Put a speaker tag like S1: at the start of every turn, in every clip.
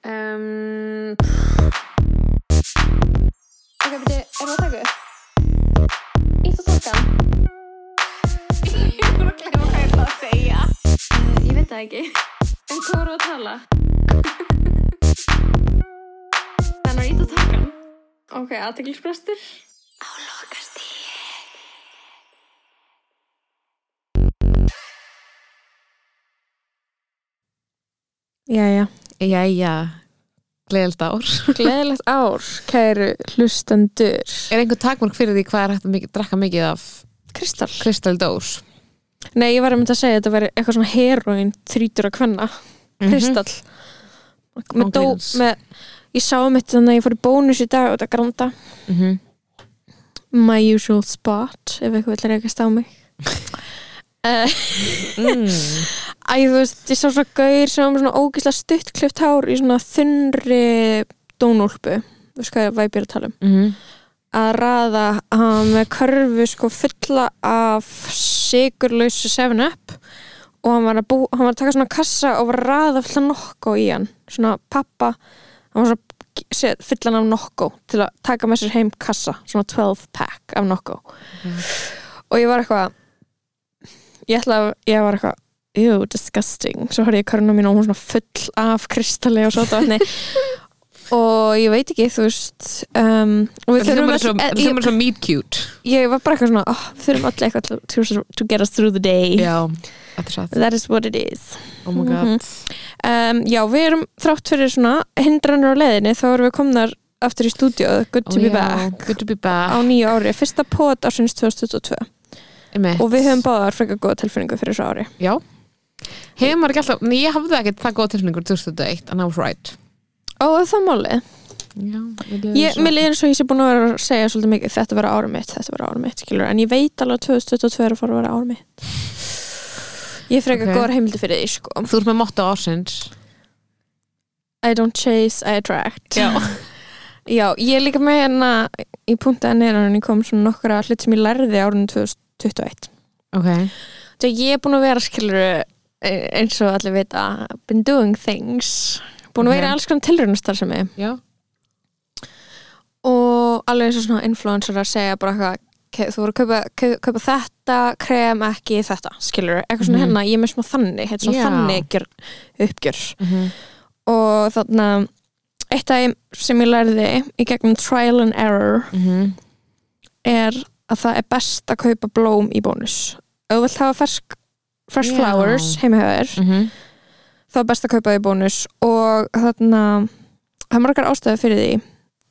S1: Um, ok, beti, er það að taka upp? Ítt og tólka.
S2: Ég voru að glemma hvað ég ætla að segja.
S1: Uh, ég veit það ekki. En hvað voru að tala?
S2: Þannig að ít að taka.
S1: Ok, aðteglisbrestur.
S2: Á lokast í.
S3: Jæja,
S4: Jæja, gleðild ár.
S3: gleðilegt ár, kæru hlustendur.
S4: Er einhver takmörk fyrir því hvað er hægt að mikið, drakka mikið af
S3: Kristall.
S4: kristaldós?
S3: Nei, ég var að mynda að segja að þetta væri eitthvað svona heroin þrítur að kvenna. Kristall. Með dó,
S4: Ángríns.
S3: með, ég sá mitt þannig að ég fór í bónus í dag út að granda.
S4: Mm
S3: Mhm.
S4: -hmm.
S3: My usual spot, ef eitthvað vill reykast á mig. Eh,
S4: mm.
S3: Æ, þú veist, ég sá svona gaur sem var með svona ógislega stuttklift hár í svona þunnri dónúlpu. Þú veist hvað væp ég er að tala um.
S4: Mm.
S3: að raða hann með körfu sko fulla af sigurlausu 7-up og hann var, að bú, hann var að taka svona kassa og var að raða fulla nokko í hann svona pappa hann var svona að fylla hann af nokko til að taka með sér heim kassa svona 12 pack af nokko og ég var eitthvað ég ætla að, ég var eitthvað ew, disgusting, svo horfði ég körna mín og hún var svona full af kristalli og sotavatni og ég veit ekki, þú veist um, og við
S4: Það
S3: þurfum
S4: hljómar
S3: öll-
S4: svo,
S3: eh, ég-
S4: hljómar svo meet cute.
S3: ég var bara eitthvað svona oh, við þurfum allir eitthvað til- to, to get us through the day
S4: Já, þetta er satt.
S3: that is what it is
S4: Oh my god.
S3: um, já, við erum þrátt fyrir svona hindranur á leiðinni þá erum við komnar aftur í stúdíóð good to
S4: Ó,
S3: be
S4: já,
S3: back
S4: Good to be back.
S3: á nýju ári, fyrsta pot ársins 2022
S4: Einmitt.
S3: og við höfum báðar frekar góða tilfinningu fyrir þessu ári
S4: Já. Hefur maður ekki alltaf, nei, ég hafði ekkert það góð tilfinningur 2001, and I was right.
S3: ó, er það máli
S4: Já,
S3: ég, mér leiðir eins og ég sé búin að vera að segja svolítið mikið þetta vera ári mitt, þetta vera ári mitt skilur. en ég veit alveg að 2022 er að fara að vera ári mitt ég er frekar
S4: Ok.
S3: okay. góðar heimildi fyrir því sko.
S4: Þú ert með motto ársins.
S3: I don't chase, I attract
S4: Já.
S3: Já, ég er líka með hérna í punktaði neðan en ég kom svona nokkra hlut sem ég lærði árunum 2021
S4: Ok.
S3: Þegar ég er búin að vera skilur eins og allir vita been doing things búin að vera
S4: Mhm.
S3: í alls konar tilraunastar sem ég
S4: Já.
S3: og alveg eins og svona influencer að segja bara eitthvað "Ok, þú voru að kaupa, kaupa, kaupa þetta krem ekki þetta, skilur eitthvað svona
S4: Mhm.
S3: hérna, ég er með smá þannig hérna svona
S4: Já.
S3: þannig gjör, uppgjör
S4: Mm -hmm.
S3: og þarna eitt af þeim sem ég lærði í gegnum trial and error mhm, er að það er best að kaupa blóm í bónus ef þú vilt hafa fersk, fresh
S4: Já.
S3: flowers heimihöður, þá er best að kaupa þau í bónus og þarna það er margar ástæður fyrir því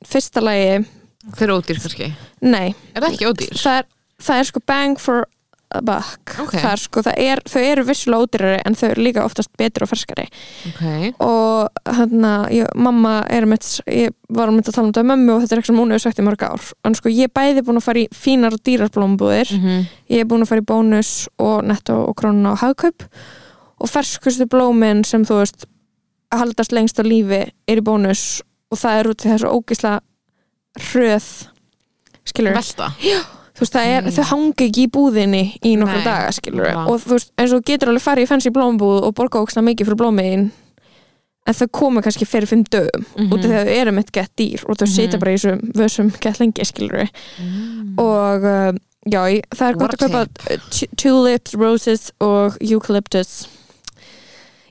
S3: fyrsta lagi,
S4: Þau eru ódýr kannski.
S3: nei
S4: Er það ekki ódýr?
S3: það er, það er sko bang for a buck
S4: Ok.
S3: það er sko, það er, þau eru vissulega ódýrari en þau eru líka oftast betur og ferskari
S4: Ok.
S3: og hérna, ég, mamma er mitt, ég var mitt að tala um þetta við mömmu og þetta er eitthvað sem hún hefur sagt í mörg ár en sko, ég er bæði búin að fara í fínar og dýrar blómbúðir
S4: -hmm.
S3: ég er búin að fara í bónus og netto og krónuna og hagkaup og ferskustu blómin sem þú veist haldast lengst á lífi er í bónus og það er út í þessu ógisla hröð skilur,
S4: Velta.
S3: þú veist það er
S4: Mm.
S3: þau hangi ekki í búðinni í nokkra
S4: Nei,
S3: daga skilur,
S4: nákvæmlega.
S3: og þú veist eins og þú getur alveg farið í fenns í blómbúð og borga ógisla mikið fyrir blómiðin en þau koma kannski fyrir fimm dögum
S4: Mm
S3: út af því að þau eru mitt gett dýr og þau
S4: Mhm.
S3: sitja bara í þessum vössum gett lengi skilur
S4: Mm.
S3: og uh, já, ég- það er gott
S4: What
S3: að kaupa uh, tu- tulips, roses og eucalyptus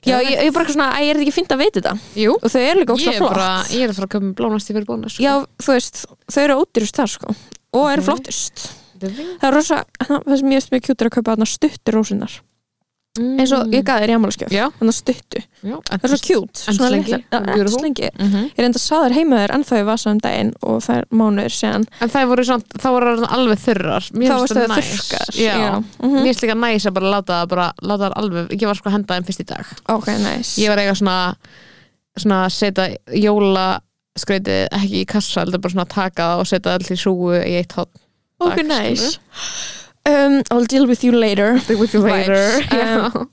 S3: Já, ég, ég er bara eitthvað svona, æ, er þetta ekki fínt að veit þetta
S4: Jú.
S3: og þau eru líka
S4: Ég
S3: ógstlega
S4: er
S3: flott
S4: bara, ég er að fara að koma blónast yfir bónus.
S3: Já, þú veist, þau eru ódýrust þar sko og eru
S4: Mhm.
S3: flottust
S4: Mm.
S3: Það er rosa, það sem ég veist mjög kjútur að kaupa þarna stuttu rósinnar eins og ég gaði þér í ammálskjöf,
S4: Já.
S3: þarna stuttu
S4: Mm, Já.
S3: Það er svo kjút,
S4: en slengi,
S3: en
S4: beautiful.
S3: slengi
S4: Mm -hmm.
S3: Ég reynda að sá þær heima þér ennþá ég vasa um daginn og það er mánuður séðan
S4: En það voru samt, það voru orðnar alveg þurrar
S3: þá
S4: Mér finnst
S3: varstu
S4: það
S3: þau
S4: næs
S3: þurrkar
S4: Já.
S3: mhm.
S4: Mér finnst líka næs að bara láta það bara, láta það alveg Ég var sko að henda þeim fyrst í dag
S3: Ok, næs
S4: Ég var eiga svona, svona að setja jóla ekki í kassa, heldur bara svona að taka það og setja það allir súgu í eitt hot
S3: Ok,
S4: Takk,
S3: nice um, I'll deal with you later
S4: With you later
S3: Um,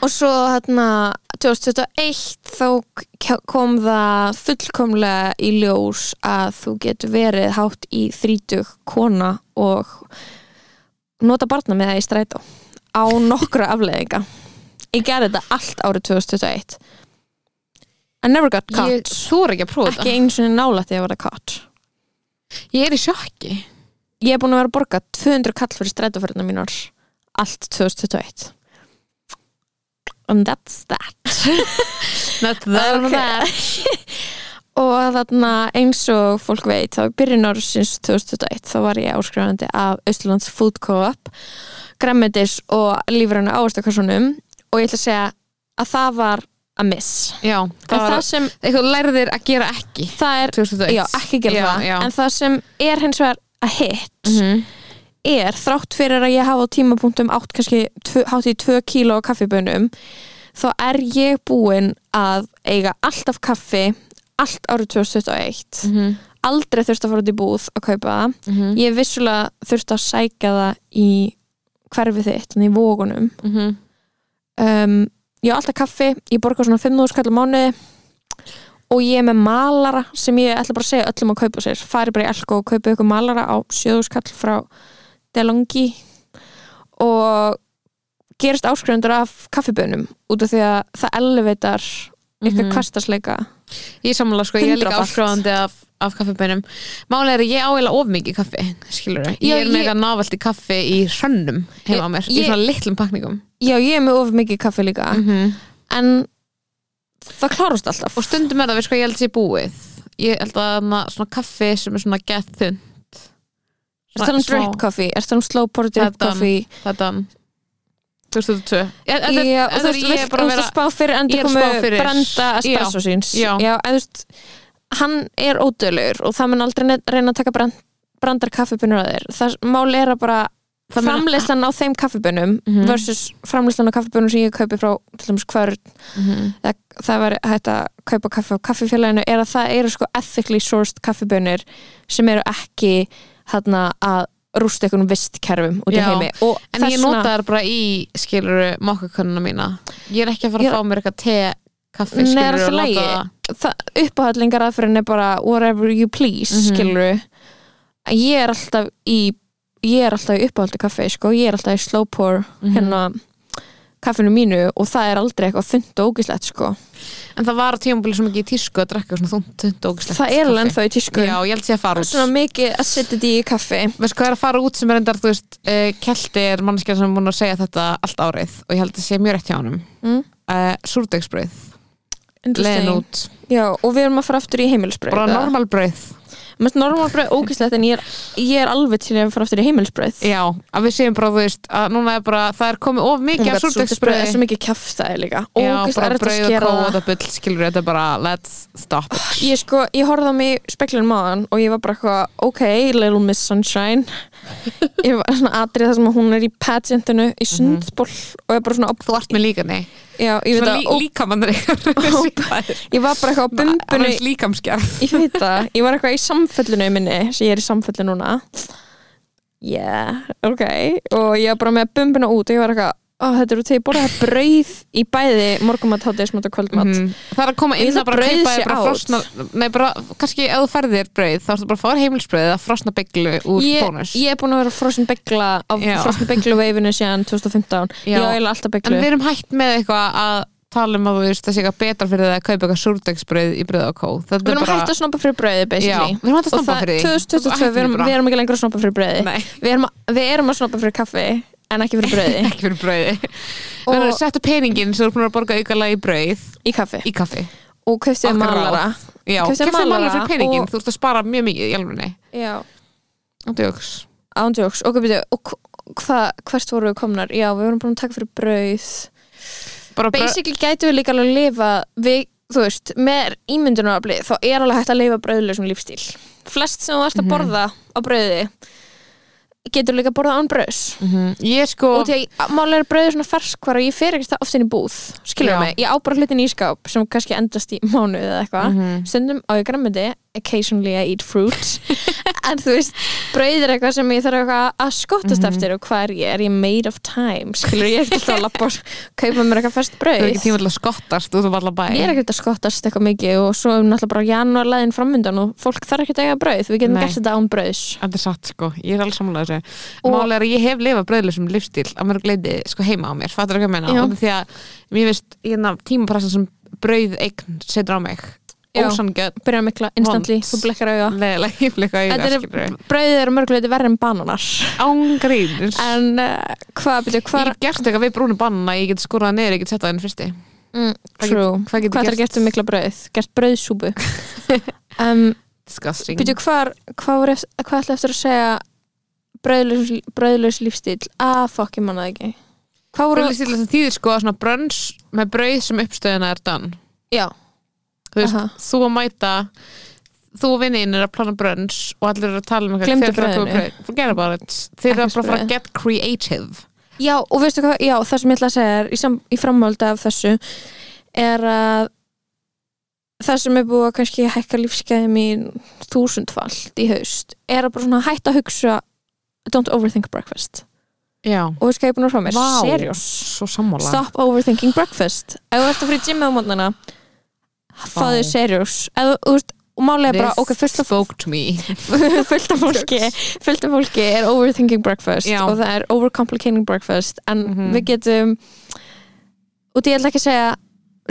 S3: Og svo hérna 2021 þá k- kom það fullkomlega í ljós að þú getur verið hátt í 30 kona og nota barna með það í strætó á nokkra afleðinga Ég gerði þetta allt árið 2021 I never got caught
S4: Ég þóra ekki að prófa
S3: ekki einu sinni nálætt ég að vera caught
S4: þetta Ég er í sjokki
S3: ég er búin að vera að borga 200 kall fyrir strætóferðina mínar allt 2021 and that's that
S4: Not that
S3: Okay. og þarna eins og fólk veit þá í byrjun ársins 2021 þá var ég áskrifandi af Austurlands Food Co-op Grammetis og Lífræna Ávastakassunum og ég ætla að segja að það var að miss
S4: Já, það
S3: en
S4: var
S3: það sem
S4: eitthvað lærðir að gera ekki
S3: það er
S4: 2001
S3: já, ekki gera
S4: Já,
S3: það
S4: já.
S3: en það sem er hins vegar að hitt
S4: Mhm.
S3: er þrátt fyrir að ég hafa á tímapunktum átt kannski tvö- hátt í 2 kíló af kaffibönum þá er ég búin að eiga alltaf kaffi allt árið 2021
S4: Mhm.
S3: aldrei þurft að fara út í búð að kaupa það
S4: Mhm.
S3: ég vissulega þurft að sækja það í hverfið þitt, þannig í vógunum
S4: Mhm.
S3: um, ég á alltaf kaffi, ég borga svona 5.000 kallar mánuði og ég er með malara sem ég ætla bara að segja öllum að kaupa sér fari bara í Elko og kaupa ykkur malara á 7.000 kall frá Delonghi og gerist áskrifundur af kaffibönum út af því að það elevatar ykkar
S4: Mhm.
S3: kastasleika
S4: Ég sammála sko, ég er líka
S3: Hundraðfalt.
S4: áskrifandi af, af kaffibænum Málega er að ég áheila of mikið kaffi skilur Ég
S3: Já,
S4: er með
S3: ég-
S4: eitthvað návalti kaffi í hrönnum heima á mér, í
S3: Ég-
S4: svona litlum pakningum
S3: já ég er með of mikið kaffi líka en það klárast alltaf
S4: Mm. Og stundum er það við sko, ég held sér búið Ég held að na, svona kaffi sem er svona get þund
S3: er það um drip kaffi, er það um slow pour drip
S4: Þetta-
S3: kaffi
S4: Þetta 2002 Ég- þetta-
S3: Já, og
S4: þetta
S3: þú
S4: er-
S3: veist,
S4: ég er
S3: vilt,
S4: bara
S3: þú
S4: að
S3: veist að
S4: vera-
S3: spá fyrir
S4: ég er að
S3: endur komu
S4: spá fyrir-
S3: brenda espresso síns
S4: já.
S3: en þú veist, hann er ódöðlegur og það mun aldrei ne- reyna að taka brand, brandar kaffibunur að þér það máli er að bara
S4: Það mun-
S3: framleyslan á þeim kaffibunum
S4: Mhm.
S3: versus framleyslan á kaffibunum sem ég kaupi frá til dæmis hvern
S4: Mhm.
S3: það, það var hægt að kaupa kaffi á kaffifélaginu er að það eru sko ethically sourced kaffibunir sem eru ekki þarna að rústa einhvern vistkerfum út í
S4: Já.
S3: heimi og
S4: En ég
S3: þess vegna-
S4: nota þær bara í, skiluru, mokkakönnuna mína Ég er ekki að fara
S3: Já.
S4: að fá mér eitthvað te, kaffi,
S3: Nei, það er
S4: skiluru
S3: alltaf lagi. uppáhaldlingar aðferðin er bara whatever you please, mm
S4: Mhm.
S3: skilur ég er alltaf í ég er alltaf í uppáhaldi kaffi, sko ég er alltaf í slow pour,
S4: Mhm.
S3: hérna kaffinu mínu og það er aldrei eitthvað þund og ógislegt, sko
S4: En það var á tímabili svo mikið í tísku að drekka svona þungt, þungt og ógislegt
S3: það er alveg ennþá í tísku
S4: Já, ég held sé að fara út
S3: svona mikið acidity í kaffi
S4: Veist hvað er að fara út sem er endar, þú veist uh, Kelti er mannskja sem er búin að segja þetta allt árið og ég held að sé mjög rétt hjá honum
S3: Mm.
S4: uh, Súrdegsbrauð, leðin
S3: Interesting.
S4: út
S3: Já, og við erum að fara aftur í heimilsbröð
S4: Bara normal brauð
S3: normalbröð ógislegt en ég er, ég er alveg til að fara aftur í heimilsbröð
S4: Já, að við séum bara, þú veist, að núna er bara það er komið of mikið af
S3: súrdegsbrauð er
S4: súrdegsbrauði
S3: svo mikið kjaftaði líka
S4: Já,
S3: ógislegt
S4: bara
S3: er þetta að
S4: brauð og
S3: skera það
S4: kóða bull skilur þetta er bara, let's stop it.
S3: Ég sko, ég horfði á mig speklinu maðan og ég var bara eitthvað, ok, little miss sunshine Ég var svona atrið þar sem að hún er í pageantinu í sundból og ég bara svona,
S4: Þú ert með líkani
S3: já, ég veit
S4: Svona
S3: að
S4: lí, Líkamannir ykkar
S3: Ég var bara eitthvað á bumbunni,
S4: Annars líkamsgerð
S3: ég veit það Ég var eitthvað í samfellinu minni, sem ég er í samfellu núna Yeah, ok Og ég var bara með bumbuna út og ég var eitthvað Oh, þetta eru til, ég borða það brauð í bæði morgumat, hátíðismat og kvöldmat
S4: Mm. Það er að koma
S3: Ég
S4: inn
S3: held
S4: að bara
S3: að brauð
S4: kaupa
S3: sé
S4: þér bara
S3: out.
S4: frosna Nei, bara, kannski ef þú ferð þér brauð þá ertu bara að fá þér heimilsbrauð eða frosna bygglu úr
S3: ég,
S4: bónus
S3: ég er búin að vera frosin begla á
S4: Já.
S3: frosin beglu veifinu síðan 2015 ég
S4: Já.
S3: á eiginlega alltaf
S4: En
S3: beglu
S4: við erum hægt með eitthvað að tala um að þú veist það sé eitthvað betra fyrir það að kaupa eitthvað súrdegsbrauð í brauð og kó
S3: við erum hægt að snoppa fyrir brauði
S4: Já,
S3: basically
S4: við erum hægt að
S3: og
S4: snoppa
S3: það
S4: fyrir því.
S3: 2022 við erum,
S4: Hættum
S3: við erum ekki lengur að snoppa fyrir brauði
S4: Nei.
S3: við erum, að- við erum að snoppa fyrir kaffi en ekki fyrir brauði
S4: Ekki fyrir brauði Við erum
S3: Og-
S4: að setja peningin sem þú erum búin að borga aukala í brauð
S3: í kaffi
S4: í kaffi
S3: og kaufti
S4: Okkar
S3: malara
S4: ráð. Já,
S3: Kauptu þér
S4: keftu þér
S3: malara
S4: malara fyrir peningin
S3: og-
S4: Þú ert að spara mjög mikið í alveg
S3: já,
S4: Andjóks
S3: ándjóks og, byrju, og hva, hvert voru við komnar já, við vorum búin að taka fyrir brauð
S4: Bara brauð
S3: basically gætu við líka alveg að lifa við, þú veist, með ímyndunarafli þá er alveg hægt að lifa brauðlausum lífstíl flest sem þú
S4: Mhm.
S3: ert að borða á brauði getur líka að borða án brauðs
S4: Mhm. Ég sko
S3: og því að málega er brauðið svona ferskvar og ég fer ekki það oft inn í búð skilur
S4: Já.
S3: mig, ég á bara hlutin í skáp sem kannski endast í mánuð eða eitthvað
S4: Mhm.
S3: stundum á ég græmiti, occasionally I eat fruit en þú veist, brauð er eitthvað sem ég þarf eitthvað að skottast
S4: Mhm.
S3: eftir og hvað er ég, er ég made of time skilur ég er ekki alltaf að lappa og kaupa mér eitthvað fest brauð
S4: Þú er ekki tíma til að skottast út af allar bæ
S3: Ég er ekkert að skottast eitthvað mikið og svo er náttúrulega bara janúarlæðin framöndan og fólk þarf ekkert að eiga brauð, við getum
S4: Nei.
S3: gert þetta án brauðs
S4: Þetta er satt sko, ég er alveg samlega þessu
S3: Og-
S4: Málega er að ég hef lifað bröðlisum lífstíl að mér gleiti sko heima á mér, fattur ekki að menna
S3: Já.
S4: og því að mér veist, ég er tímapressan sem brauð eign setur á mig
S3: Já.
S4: ósangjörn,
S3: byrja að mikla instantly,
S4: Vont.
S3: þú blekkar auða
S4: leðilega ég blika
S3: Þetta
S4: auðvitað
S3: er- brauðið eru mörguleiti verri en bananar
S4: ángríns
S3: en uh, hvað, byrju,
S4: Ég
S3: hvað
S4: get gert eitthvað við brúnu banna, ég get skorað niður, ég get sett það inn fyrsti.
S3: mm,
S4: Hvað
S3: true,
S4: Hvað get
S3: hvað
S4: ég
S3: er gert um mikla brauð gert brauðsúbu um,
S4: Disgusting.
S3: byrju, hvað, hvað, var eft- hvað ætla eftir að segja brauðlaus, brauðlaus lífstíl að fokk, ég manna það ekki hvað voru,
S4: Brauðlýstil sem þýðir sko að svona brönns með brauð sem uppstöðina er dan
S3: já,
S4: þú veist,
S3: Aha.
S4: þú að mæta þú og vinnin er að plana brönns og allir eru að tala um
S3: Gleymdu
S4: hver ætlar að kaupa
S3: brauðinu.
S4: brauð? Forget about it. þeir eru að bara fara
S3: brauð.
S4: að get creative
S3: já, og veistu hvað já, það sem ég ætla að segja er, í, sam, í framhaldi af þessu er að það sem er búið að kannski hækka lífskeiði mín þúsundfald í haust er að bara svona hætta að hugsa don't overthink breakfast
S4: já,
S3: og við skæpum frá mér,
S4: Vá.
S3: seriós
S4: svo sammála
S3: stop overthinking breakfast ef þú ert að fyrir gymið á mótnana fáðu
S4: Vá.
S3: seriós ef þú- þú veist, og málega
S4: This
S3: bara, ok, fullt af,
S4: spoke to me
S3: fullt af fólki fullt af fólki er overthinking breakfast
S4: Já.
S3: og það er overcomplicating breakfast en
S4: Mhm.
S3: við getum og ég ætla ekki að segja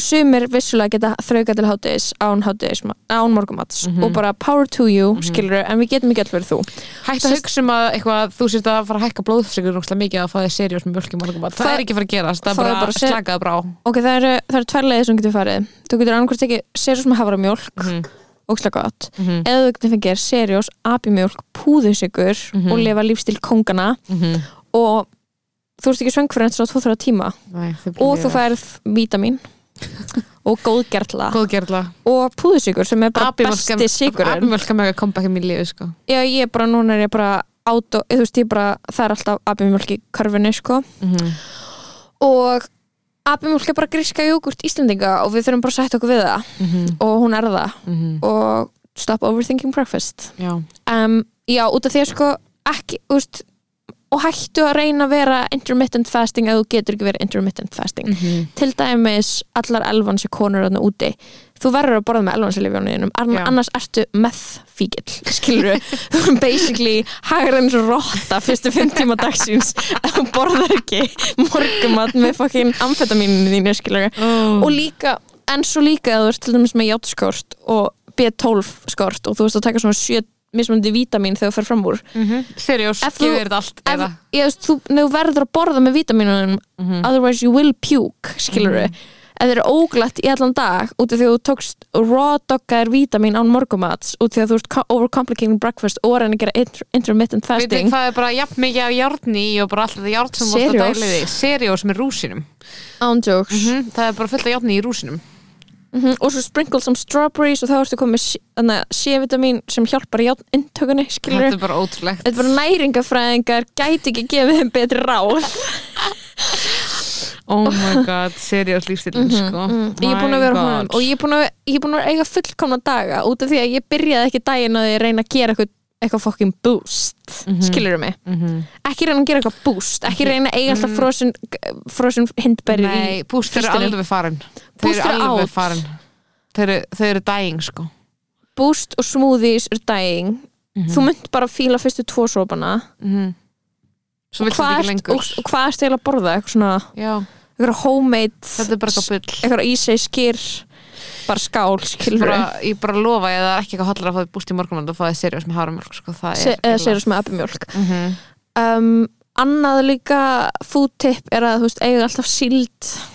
S3: sumir vissulega geta þrauka til hátis án hátis, án morgumats
S4: Mhm.
S3: og bara power to you, mm
S4: Mhm.
S3: en við getum ekki öll verið þú
S4: hætt að hugsa um að eitthvað, þú sést að fara að hækka blóðfryggur náttúrulega mikið að fá þig seriós með mjölki morgum það,
S3: Það-
S4: er ekki að fara að gerast, það
S3: það
S4: er
S3: er
S4: bara,
S3: bara
S4: bara
S3: ser-
S4: slakað brá
S3: ok, það eru, það eru tvær leiðir sem getur farið þú getur annarkvæmst ekki seriós með haframjólk mm -hmm.
S4: Mhm.
S3: ókslega gott
S4: mm -hmm.
S3: eða þú getur fengið seriós, apimjólk, púðusikur
S4: Mhm.
S3: og lifa lífstil kongana og þú ert ekki svöng fyrir enn svona 2-3 tíma og þú færð vítamin og góðgerla
S4: góðgerðla
S3: og púðusikur sem er bara besti sigurinn
S4: Abimjölk er mega comeback í mín lífi sko.
S3: já, ég er bara, núna er ég bara át og, þú veist, ég bara, það er alltaf apimjólk í körfunni, sko
S4: Mhm.
S3: og apimjólk er bara gríska jógurt íslendinga og við þurfum bara að sætta okkur við það og hún er það og stop overthinking breakfast
S4: Mhm. Já,
S3: um, já, út af því að sko ekki, úst, og hættu að reyna að vera intermittent fasting ef þú getur ekki verið intermittent fasting til dæmis allar elvansi konur þarna úti þú verður að borða með elvansi lifjónuðinum
S4: Já.
S3: annars ertu meth fíkil skilur þú basically hagar eins og rotta fyrstu fimm tíma dagsins ef þú borðar ekki morgumat með fokkin amfetamíninu þínu skilur
S4: oh.
S3: og líka, en svo líka að þú ert til dæmis með játskort og B12 skort og þú veist að taka svona sjö mismandi vítamin þegar þú fer fram úr
S4: mm -hmm. Seriós,
S3: Ef þú-
S4: gefur þetta allt
S3: ef,
S4: eða Mhm.
S3: ég veist, þú, ef þú verður að borða með vítaminunum otherwise you will puke, skilur við ef þeir eru óglatt í allan dag út af því að þú tókst raw doggaðir vítamin án morgumats út af því að þú ert co- overcomplicating breakfast og er að gera inter intermittent
S4: Veitir
S3: fasting
S4: hvað er bara jafn mikið af járni í og bara alltaf það járn sem þú varst að
S3: Seriós?
S4: dæla í þig Seriós með rúsinum
S3: ándjóks
S4: mm Það er bara fullt af járni í rúsinum
S3: mm og svo sprinkle some strawberries og þá ertu komið með C-vitamin sem hjálpar í inntökunni, skilur
S4: Þetta er bara ótrúlegt
S3: Þetta er bara næringafræðingar, gæti ekki gefið þeim betri ráð.
S4: Oh my god, seriós lífstilin sko
S3: Mhm, Mm, Ég er búin að
S4: My
S3: vera
S4: God.
S3: honum og ég er búin að, ég er búin að eiga fullkomna daga út af því að ég byrjaði ekki daginn að ég reyna að gera eitthvað, eitthvað fucking boost. Mm -hmm. Skilurðu mig?
S4: Mhm. Mm.
S3: Ekki reyna að gera eitthvað boost, ekki reyna að eiga alltaf frosin, frosin hindberri í...
S4: Nei, búst eru
S3: frystinum.
S4: alveg farin Þeir
S3: Boost
S4: eru
S3: eru
S4: alveg
S3: out.
S4: farin Þeir eru- Þeir eru dying sko
S3: Boost og smoothies er daginn. Þú mynd bara að fíla fyrstu tvo sopana.
S4: Mhm. Svo vilt þetta
S3: Hvað
S4: ekki
S3: ert-
S4: lengur
S3: og, og hvað ertu eiginlega að borða? Eitthvað svona,
S4: Já,
S3: eitthvað homemade,
S4: þetta er bara eitthvað bull
S3: eitthvað ísæ skýr, bara skál, skilur
S4: bara, ég bara lofa ég að það er ekki eitthvað hollur að fá þið búst í morgunmönd og fá þið seriós með hárumjölk sko, það
S3: Se-
S4: er
S3: eða seriós með abimjólk
S4: mm -hmm.
S3: um, annað líka food tip er að þú veist, eiga alltaf síld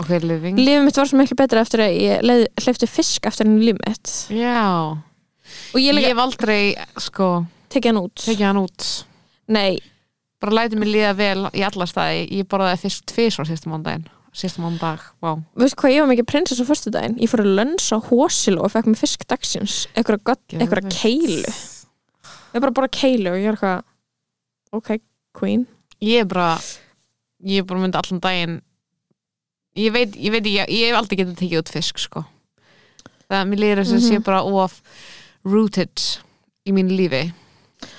S4: ok, living
S3: lífið mitt var svo miklu betra eftir að ég hleyfti fisk eftir enn lífið mitt
S4: já,
S3: og ég
S4: ég
S3: líka
S4: hef aldrei sko,
S3: tekið hann út
S4: tekið hann út
S3: nei,
S4: bara lætið mér líða vel í alla staði ég borðaði fyrst tvis á síðasta mándaginn síðasta mándag, wow
S3: veistu hvað ég var mikið prinsess á förstu daginn ég fór að lönsa hósil og fekk mér fisk dagsins einhverja gott- einhverja keilu ég bara bara keilu og ég er eitthvað ok, queen
S4: ég er bara ég er bara myndi allan daginn ég veit, ég veit ekki, ég hef aldrei getið tekið út fisk sko það mér líður þess að
S3: Mhm.
S4: sé bara of rooted í mínu lífi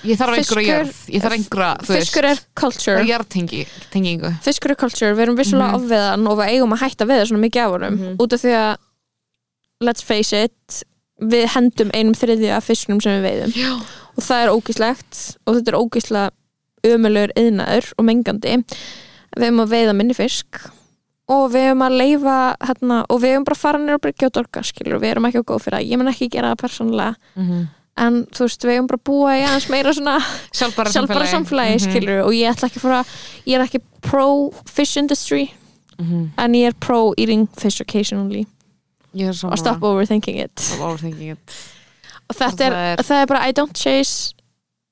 S4: ég þarf
S3: Fiskur-
S4: einhverja jörð ég þarf einhverja, þú veist
S3: fiskur er culture
S4: og jarðtengi tengingu
S3: fiskur er culture, við erum vissulega mm
S4: Mhm.
S3: ofveðan og við eigum að hætta við það svona mikið af honum
S4: Mhm.
S3: út af því að let's face it, við hendum einum þriðja af fiskunum sem við veiðum
S4: já,
S3: og það er ógíslegt og þetta er ógíslega ömulegur yðnaður og mengandi við erum að veiða minni fisk og við erum að leifa hérna, og við erum bara að fara nýra og bryggja og dorka skilur, við erum ekki að góð fyrir það, ég mun ekki gera það persónulega
S4: mm -hmm.
S3: en þú veist, við erum bara að búa í aðeins meira svona
S4: sjálfbara
S3: sjálfbara samfélagi
S4: Mhm.
S3: skilur og ég ætla ekki að fara, ég er ekki pro fish industry,
S4: Mhm.
S3: en ég er pro eating fish occasionally
S4: ég er saman
S3: og stop overthinking it
S4: overthinking it
S3: og þetta er,
S4: Það er-
S3: það er bara I don't chase,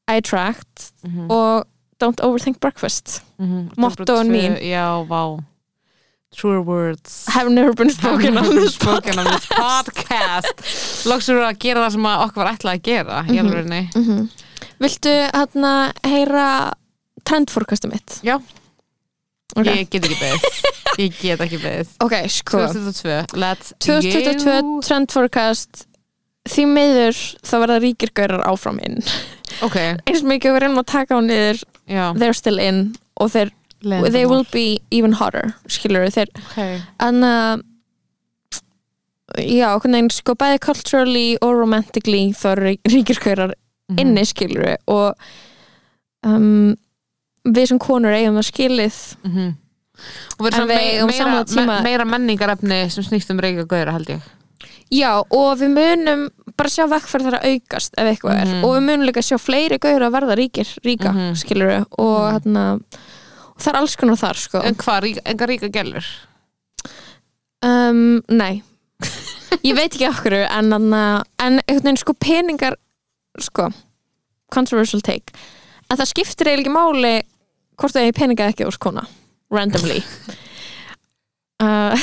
S3: I attract
S4: Mhm.
S3: og don't overthink breakfast
S4: Mhm.
S3: Mottóin
S4: Double two-
S3: mín.
S4: já, vá truer words
S3: have never been spoken on this
S4: spoken on this podcast loks eru að gera það sem að okkur var ætlað að gera í
S3: Mhm.
S4: alveg nei
S3: mm Viltu hérna heyra trendfórkastu mitt?
S4: Já.
S3: Ok,
S4: ég get ekki beðið ég get ekki beðið
S3: okay sko
S4: 2022, let's
S3: 2022 trendfórkast því miður þá verða ríkir gaurar áfram inn
S4: go ok,
S3: eins mikið og við reynum að taka á niður
S4: já
S3: they're still in og þeir, they will be even hotter skilur þeir
S4: okay.
S3: en uh, já, hvernig einn sko bæði culturally og romantically þá eru rí- ríkir gaurar
S4: Mhm.
S3: inni skilur og um, við sem konur eigum það skilið
S4: Mhm. og við
S3: En
S4: erum
S3: við eigum
S4: svona
S3: sama
S4: me- meira,
S3: tíma-
S4: me- meira menningarefni sem snýst um reyka gauðra held ég
S3: Já, og við munum bara sjá vekkferð þeirra aukast ef eitthvað
S4: Mhm.
S3: er og við munum líka sjá fleiri gauður að verða ríkir ríka, mm
S4: Mhm.
S3: og hérna og það er alls konar þar sko
S4: en hvað, rík, enga ríka gælur
S3: um, Nei, ég veit ekki okkur en, en, en einhvern veginn sko peningar sko, controversial take en það skiptir eiginlega ekki máli hvort það er peninga eða ekki úr kona randomly uh,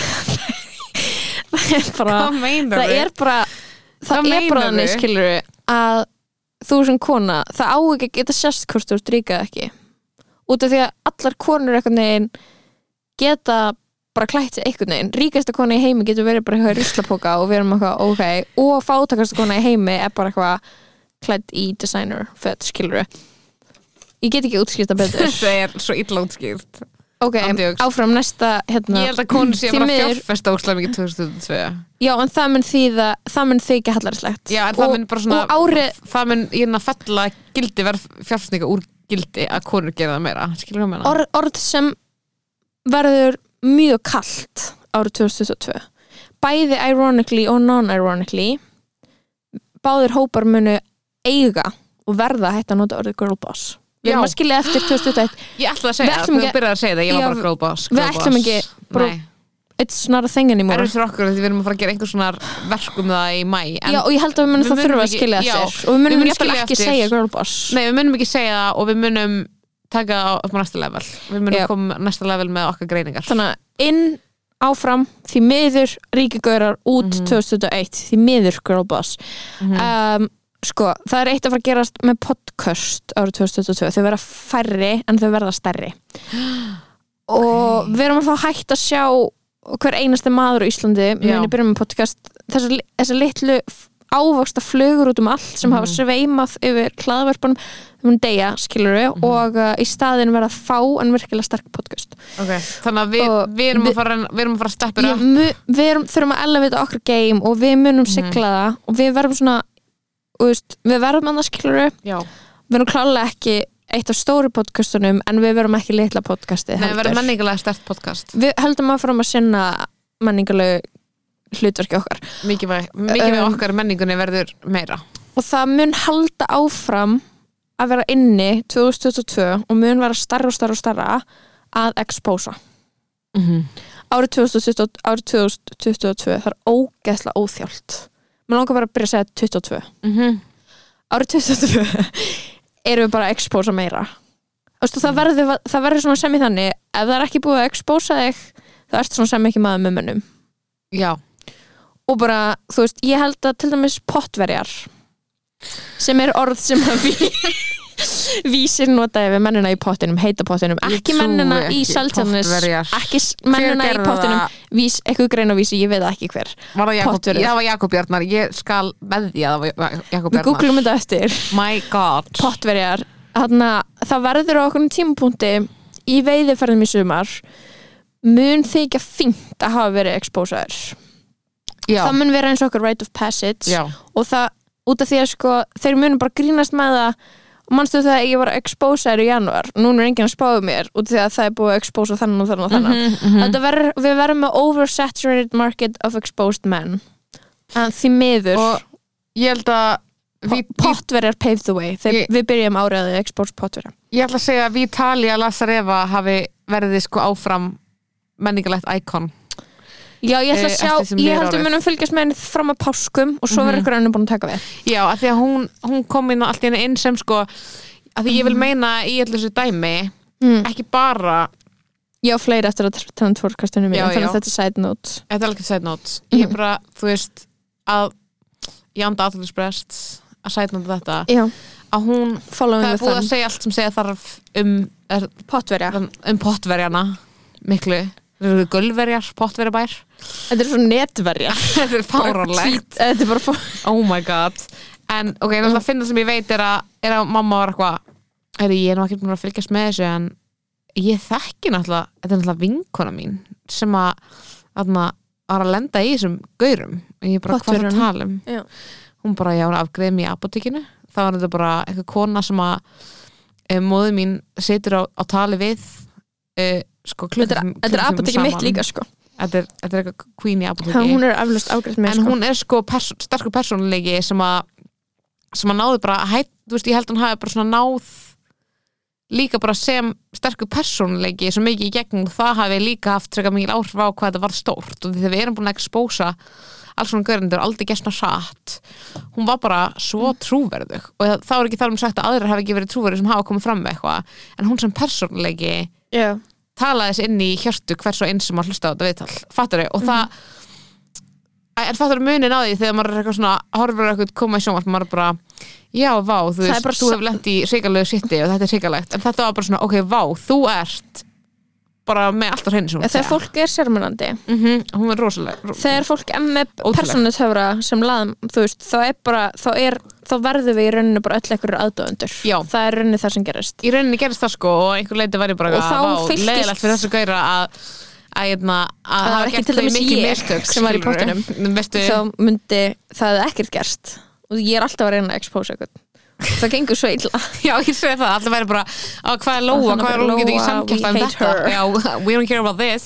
S3: það er bara
S4: meinar
S3: það er bara það
S4: Hvað
S3: er bara
S4: meinarðu?
S3: þannig skilur að þú sem kona það á ekki að geta sérst hvort þú ert ríka eða ekki út af því að allar konur einhvern veginn geta bara klætt sig einhvern veginn ríkasta kona í heimi getur verið bara eitthvað ruslapóka og við erum eitthvað ok og fátakasta kona í heimi er bara eitthvað klætt í designer föt skilur ég get ekki útskýrt það betur
S4: þetta er svo illa útskýrt
S3: ok,
S4: Andjóks.
S3: áfram næsta hérna,
S4: ég held að konur sé
S3: því
S4: bara að
S3: miður-
S4: fjárfesta óslega mikið 2002
S3: já en það mun þýða það mun þykja hallarslegt
S4: Já, en það mun bara svona-
S3: og árið,
S4: það mun hérna fella gildi verð fjárfestninga úr gildi að konur gera það meira skilur hvað menna?
S3: orð, orð sem verður mjög kalt árið 2022 bæði ironically og non-ironically báðir hópar munu eiga og verða að hætta að nota orðið girlboss við
S4: Já.
S3: erum að skilja eftir 2021
S4: Ég ætla að segja
S3: Við
S4: það,
S3: ætlum
S4: þú
S3: ekki-
S4: byrjar að segja það, ég var
S3: Já,
S4: bara gróðbás
S3: við ætlum ekki- bara- it's not a thing
S4: Nei,
S3: anymore
S4: erfið fyrir okkur því við erum að fara að gera einhver svona verk um það í mæ en,
S3: já, og ég held að við munum
S4: Við
S3: það
S4: munum
S3: þurfa að
S4: ekki-
S3: skilja
S4: já,
S3: eftir og við
S4: við
S3: munum
S4: munum
S3: jafnvel
S4: skilja
S3: ekki
S4: eftir.
S3: segja girlboss
S4: Nei, við munum ekki segja það og við munum taka það á- upp á næsta level Við munum
S3: Já.
S4: koma næsta level með okkar greiningar
S3: þannig að inn áfram því miður ríkigaurar út 2021 því miður girlboss um, sko, það er eitt að fara að gerast með podcast árið 2022 þau verða færri en þau verða stærri og við erum að fá hægt að sjá hver einasti maður á Íslandi muni byrja með podcast þessi, þessi litlu ávaksta flugur út um allt sem hafa sveimað yfir hlaðverpunum um deyja skilur við og uh, í staðin verða fá en virkilega sterk podcast
S4: okay. Þannig að við,
S3: Og
S4: við, erum
S3: við-
S4: að fara, við erum að fara að steppir
S3: Ég
S4: upp
S3: mu, við erum, þurfum að elevita okkur game og við munum
S4: Mhm.
S3: sigla það og við verðum svona þú veist, við verðum annars skiluru
S4: Já.
S3: við erum klálega ekki eitt af stóru podcastunum en við verðum ekki litla podcasti
S4: Nei, við
S3: heldur.
S4: erum menningulega stert podcast
S3: við höldum að fram að sinna menningalegu hlutverki okkar
S4: Mikið við, mikið við
S3: Um,
S4: okkar menningunni verður meira
S3: og það mun halda áfram að vera inni 2022 og mun vera starra og starra og starra að exposa
S4: mm
S3: mhm.
S4: -hmm.
S3: árið 2020, árið 2022 það er ógeðslega óþjált maður langar bara að byrja að segja 22
S4: Mhm.
S3: árið 2022 erum við bara að expósa meira Æstu, það, verður, það verður svona sem í þannig ef það er ekki búið að expósa þig það ert svona sem ekki maður með mönnum
S4: Já,
S3: og bara, þú veist, ég held að til dæmis pottverjar sem er orð sem að ví, vísir notaði við mennina í pottinum heita pottinum,
S4: Ég
S3: ekki
S4: trúi
S3: mennina í
S4: ekki,
S3: seltjarnis
S4: pottverjar.
S3: ekki s- mennina í
S4: gerði
S3: pottinum
S4: það?
S3: vís, eitthvað grein og vísi, ég veit það ekki hver
S4: var það Jakob,
S3: Potturinn.
S4: já, það var Jakob Bjarnar Ég skal veðja að það var Jakob
S3: við
S4: Bjarnar
S3: googlum þetta eftir
S4: My god
S3: pottverjar þannig að það verður á okkur tímapunkti í veiðiferðum í sumar mun þykja fínt að hafa verið expósaður
S4: Já,
S3: það mun vera eins og okkur right of passage
S4: já,
S3: og það út af því að sko þeir munum bara grínast með það og manstu það að ég var að expósa þér í januar núna er enginn að spáðu mér út af því að það er búið að expósa þennan og þennan og þennan
S4: Mhm,
S3: mm
S4: mhm.
S3: ver, við verðum með oversaturated market of exposed men en því miður
S4: og ég held að
S3: vi,
S4: við,
S3: potverjar paved the way Þeir,
S4: Ég-
S3: við byrjum áraðið expose potverjar
S4: ég ætla að segja að Vitalia Lazareva hafi verið sko áfram menningalegt íkon
S3: já ég ætla
S4: Eh,
S3: að sjá,
S4: eftir sem
S3: ég
S4: líður
S3: held
S4: árið.
S3: við munum fylgjast með henni fram að páskum og svo verður ykkur annar búin að taka við
S4: já, af því að hún, hún kom inn allt í henni inn sem sko, af því ég vil meina í allir þessu dæmi,
S3: Mm.
S4: ekki bara
S3: ég á fleiri eftir að trendforkastinu mér
S4: Já,
S3: þannig að
S4: já.
S3: þetta er side note
S4: Þetta er alveg side notes Ég er bara, þú veist að ég anda aðtölusbrest að side note þetta
S3: já,
S4: að hún, það
S3: following
S4: er
S3: with
S4: búið að
S3: them
S4: segja allt sem segja þarf um, er,
S3: potverja,
S4: um pottverjana miklu, þeir eru gulverjar pottverjabær,
S3: þetta er svo netverja eh,
S4: þetta er fáránlegt
S3: þetta er bara fó-
S4: oh my god en ok, náttúrulega að finna sem ég veit er að, er að mamma var eitthvað er ég er nú ekki búin að fylgjast með þessu en ég þekki náttúrulega þetta er náttúrulega vinkona mín sem að þarna var að lenda í þessum gaurum og ég bara hvað það
S3: Potturunum.
S4: tala um
S3: Já.
S4: hún bara, já, hún afgreði mig í apotekinu þá var þetta bara eitthvað kona sem að e, móði mín situr á, á tali við e, sko
S3: þetta er-
S4: klukkutíma
S3: þetta er
S4: klukkutíma
S3: apotekki mitt
S4: saman.
S3: líka sko
S4: þetta er, þetta er eitthvað queen í apoteki
S3: Ha, hún er aflust afgrætt með
S4: en hún er sko perso sterkur persónuleiki sem að sem að náði bara að hætt, þú veist, ég held hann hafi bara svona náð líka bara sem sterkur persónuleiki svo mikið í gegnum það hafi líka haft treka mikil áhrif á hvað þetta var stórt og því þegar við erum búin að expósa alls svona görindur, aldrei gestna satt hún var bara svo trúverðug og þá er ekki þar um sagt að aðrir hafi ekki verið trúverðug sem hafa komið fram með eitthvað en hún sem persónuleiki
S3: já,
S4: talaði þess inn í hjörtu hvers og eins sem að hlusta á þetta viðtal fattar
S3: Mhm.
S4: og það en fattar munin á því þegar maður er eitthvað svona horfur eitthvað koma í sjónvart maður er bara já, vá, þú
S3: Það er
S4: veist,
S3: bara
S4: þú
S3: sa-
S4: hefur lent í sigalegu sitti og þetta er sigalegt en þetta var bara svona, ok, vá, þú ert bara með allt á hreinu sem hún
S3: þegar fólk er sérmennandi
S4: mm hún er rosaleg ro
S3: þegar fólk er með
S4: Ótrúlegt.
S3: persónutöfra sem laðum, þú veist, þá er bara þá, er, þá verðum við í rauninu bara öll ekkur aðdóðundur,
S4: Já.
S3: það er rauninu það sem gerist
S4: í rauninni gerist það sko og einhver leiti var ég bara
S3: Og
S4: að,
S3: þá
S4: vá,
S3: fylltist-
S4: leiðilegt fyrir þessu gæra að að, hérna,
S3: það
S4: að, hafa
S3: var ekki
S4: gert
S3: til
S4: þau
S3: dæmis
S4: mikil
S3: ég
S4: mistök,
S3: sem var í
S4: skilurðu. Veistu,
S3: þá myndi það ekkert gerst og ég er alltaf að reyna að expose eitthvað það gengur svo illa
S4: Já, ég segi það, allir væri bara á, hvað er Lóa,
S3: Þannig
S4: hvað er
S3: bara,
S4: Lóa, getur ekki
S3: Lóa,
S4: samkjæft
S3: we
S4: um
S3: hate
S4: þetta
S3: her.
S4: Já, we don't care about this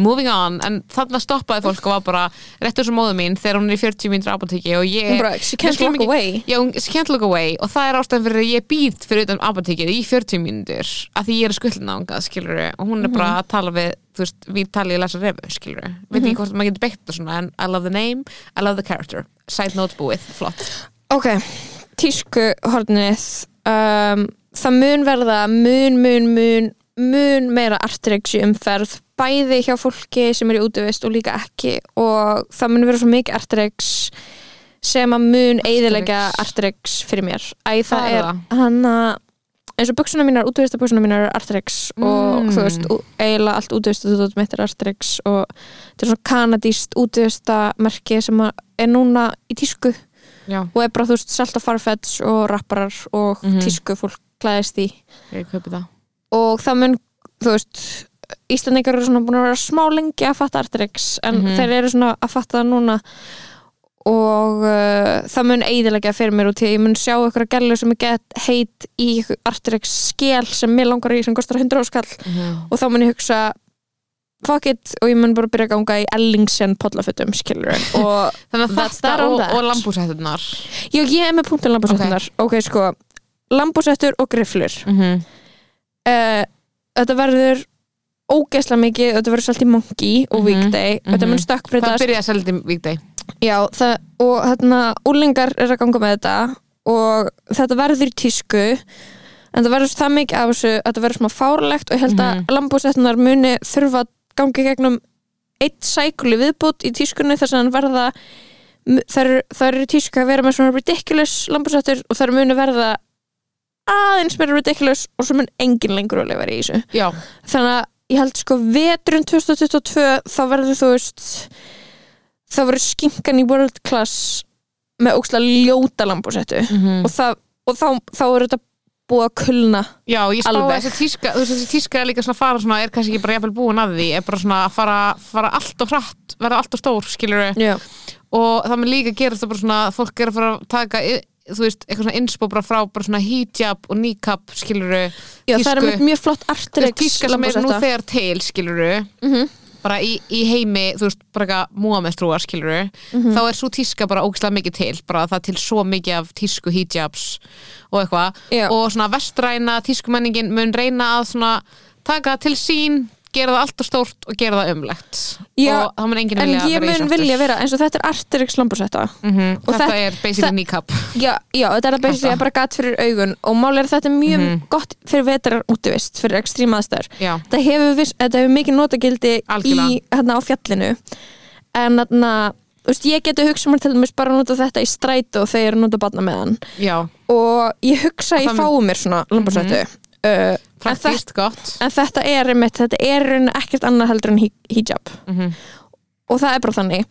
S4: Moving on, en þarna stoppaði fólk og var bara, rétt þessu móðu mín þegar hún er í 40 mínútur apotekki og ég
S3: Hún bara, "She can't
S4: Við skulum
S3: look
S4: ekki-
S3: away."
S4: Já, hún- she can't look away og það er ástæðan fyrir að ég býð fyrir utan apotekkið í 40 mínútur að því ég er skullin ángað, skilur og hún er bara
S3: Mhm.
S4: að tala við, þú veist, við talið að lesa refu, skilur við, veit ekki hvort maður getur beitt þetta svona, en I love the name, I love the character side note búið, flott
S3: ok, tísku hornið um, það mun verða mun, mun, mun mun meira artreiksi umferð bæði hjá fólki sem er í útivist og líka ekki og það mun vera svo mikið artreiks sem að mun eiðilega artreiks fyrir mér Æ, það,
S4: Hvað er
S3: er, hann að eins og buksuna mínar, útivista buksuna mínar er artreiks og
S4: Mm.
S3: þú veist, ú- eiginlega allt útivista þú veist, mitt er artreiks og þetta er svona kanadíst útivista merki sem að er núna í tísku
S4: Já,
S3: og er bara þú veist selt á farfets og rapparar og
S4: Mhm.
S3: tísku fólk klæðist í
S4: ég kaupi það
S3: og það mun, þú veist Íslandingar eru svona búin að vera smá lengi að fatta Artrix en
S4: Mhm.
S3: þeir eru svona að fatta það núna og uh, það mun eiðilega fyrir mér út í að ég mun sjá ykkur að gælu sem er gett heit í ykkur Artrix skél sem mér langar í sem kostar 100 áskall og þá mun ég hugsa fuck it og ég mun bara byrja að ganga í Ellingsen podlafötum skilur og
S4: Þannig að
S3: That's
S4: þetta
S3: that on
S4: og,
S3: that.
S4: og lambúsættunar
S3: Já, ég er með punktin lambúsettunar Ok, sko, lambúsettur og grifflur
S4: mm -hmm.
S3: uh, Þetta verður ógeðslega mikið, þetta verður svolítið mongi og
S4: Mhm,
S3: weekday, þetta
S4: mhm.
S3: mun
S4: Það
S3: stökkbreytast
S4: byrjaði að selja þetta í vikdeg
S3: Já, það, og hérna úlingar er að ganga með þetta og þetta verður í tísku en það verður það mikið af þessu að þetta verður smá fárlegt og ég held
S4: Mhm.
S3: að lambúsettunar muni þurfa að gangi gegnum eitt sækuli viðbútt í tískunni þess að hann verða þær, eru- þær eru í tísku að vera með svona ridiculous lambúsettur og þær muni verða aðeins meira ridiculous og svo mun engin lengur alveg vera í þessu
S4: Já,
S3: þannig að ég held sko veturinn 2022 þá verður þú veist þá verður skinkan í world class með óksla ljóta lambúsettu
S4: Mhm.
S3: og, það, og þá, þá er þetta búið að kulna
S4: já ég spá að
S3: Alveg.
S4: þessi tíska þú veist, þessi tíska er líka svona að fara svona er kannski ekki bara jafnvel búin að því er bara svona að fara, fara allt og hratt verða allt og stór skilur
S3: Já.
S4: og það með líka gerast það bara svona að fólk er að fara að taka i- þú veist, eitthvað svona inspo bara frá bara svona hijab og niqab skiluru
S3: Já, það er
S4: tísku-
S3: mjög flott
S4: þú veist,
S3: artileg
S4: tíska sem er nú þegar til skiluru
S3: Mhm.
S4: bara í, í heimi, þú veist, bara eitthvað múamestrúar skiluru,
S3: Mhm.
S4: þá er svo tíska bara ógislega mikið til, bara það er til svo mikið af tísku hijabs og eitthvað
S3: Já.
S4: og svona vestræna tískumenningin mun reyna að svona taka til sín gera það alltaf stórt og gera það umlegt
S3: Já,
S4: og það mun enginn
S3: En
S4: vilja
S3: ég
S4: vera í
S3: mun
S4: þessu
S3: vilja
S4: aftur.
S3: vera eins og þetta er artileg slambúrsetta
S4: Mhm,
S3: og
S4: þetta
S3: þetta-
S4: er basically
S3: það-
S4: niqab
S3: Já, já, þetta er basically
S4: Kassa.
S3: bara gatt fyrir augun og máli er að þetta er mjög gott fyrir vetrar útivist, fyrir ekstríma aðstæður
S4: Mhm. já,
S3: þetta hefur, viss, þetta hefur mikið notagildi í,
S4: Algjörlega.
S3: hérna, á fjallinu en þarna, þú veist, ég geti hugsa mér til dæmis bara að nota þetta í strætu og þegar nota barna með hann
S4: já,
S3: og ég hugsa að
S4: það
S3: ég
S4: mun- Mhm.
S3: fái mér svona lambasvættu uh, en, þetta,
S4: praktíst gott
S3: en þetta er einmitt, þetta er í rauninni ekkert annað heldur en hi- hijab
S4: Mhm.
S3: og það er bara þannig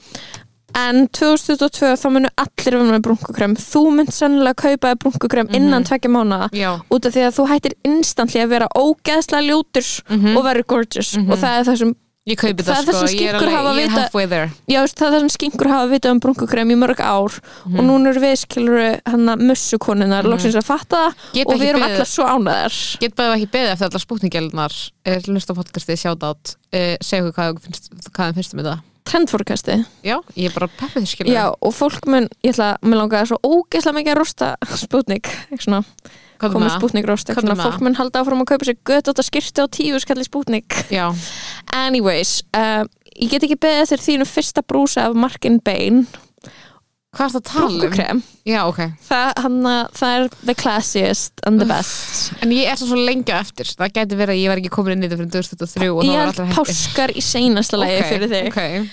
S3: en 2022 þá munu allir vera með brúnkukrem þú mynd sennilega kaupa brúnkukrem
S4: Mhm.
S3: innan tvekja mánaða
S4: já,
S3: út af því að þú hættir instantly að vera ógeðslega ljótur
S4: Mhm.
S3: og vera gorgeous og það er það sem,
S4: ég kaupi
S3: Það
S4: það,
S3: er það
S4: sko
S3: sem
S4: ég er,
S3: skinkur hafa
S4: alveg, ég er
S3: vita-
S4: halfway there
S3: já, veist, það er það sem skinkur hafa vitað um brúnkukrem í mörg ár
S4: Mhm.
S3: og núna eru við skilur hana mussukonuna loksins að fatta það
S4: Geta
S3: og við
S4: ekki
S3: erum
S4: beðið.
S3: allar svo ánæðar
S4: get bara ekki beðið eftir allar spútningjálnar hlusta á podcastið, sjátt átt uh, segja okkur hvað þeim finnst, hvað þeim finnst um þetta
S3: trendfórkasti,
S4: já, ég er bara peppið þér skilur
S3: já, og fólk mun ég ætla, mér langaði svo ógeðslega mikið að rosta spútnik, ekki svona
S4: Komdu
S3: komið
S4: með það.
S3: spútnik rost, ekki
S4: Komdu
S3: svona
S4: með
S3: fólk mun halda áfram að kaupa sér gött átt að skyrta á tíu skalli spútnik
S4: já,
S3: anyways, uh, ég get ekki beðið eftir þínu fyrsta brúsa af Markin Bain
S4: hvað er það að tala um?
S3: brúnkukrem
S4: já, ok,
S3: það, hann, að- það er the classiest and the best
S4: en ég er svo, svo lengi á eftir það gæti verið að ég var ekki komin inn í þetta fyrir 2003 og
S3: ég
S4: það var
S3: er
S4: allra
S3: páskar í seinasta lagi fyrir þig
S4: okay.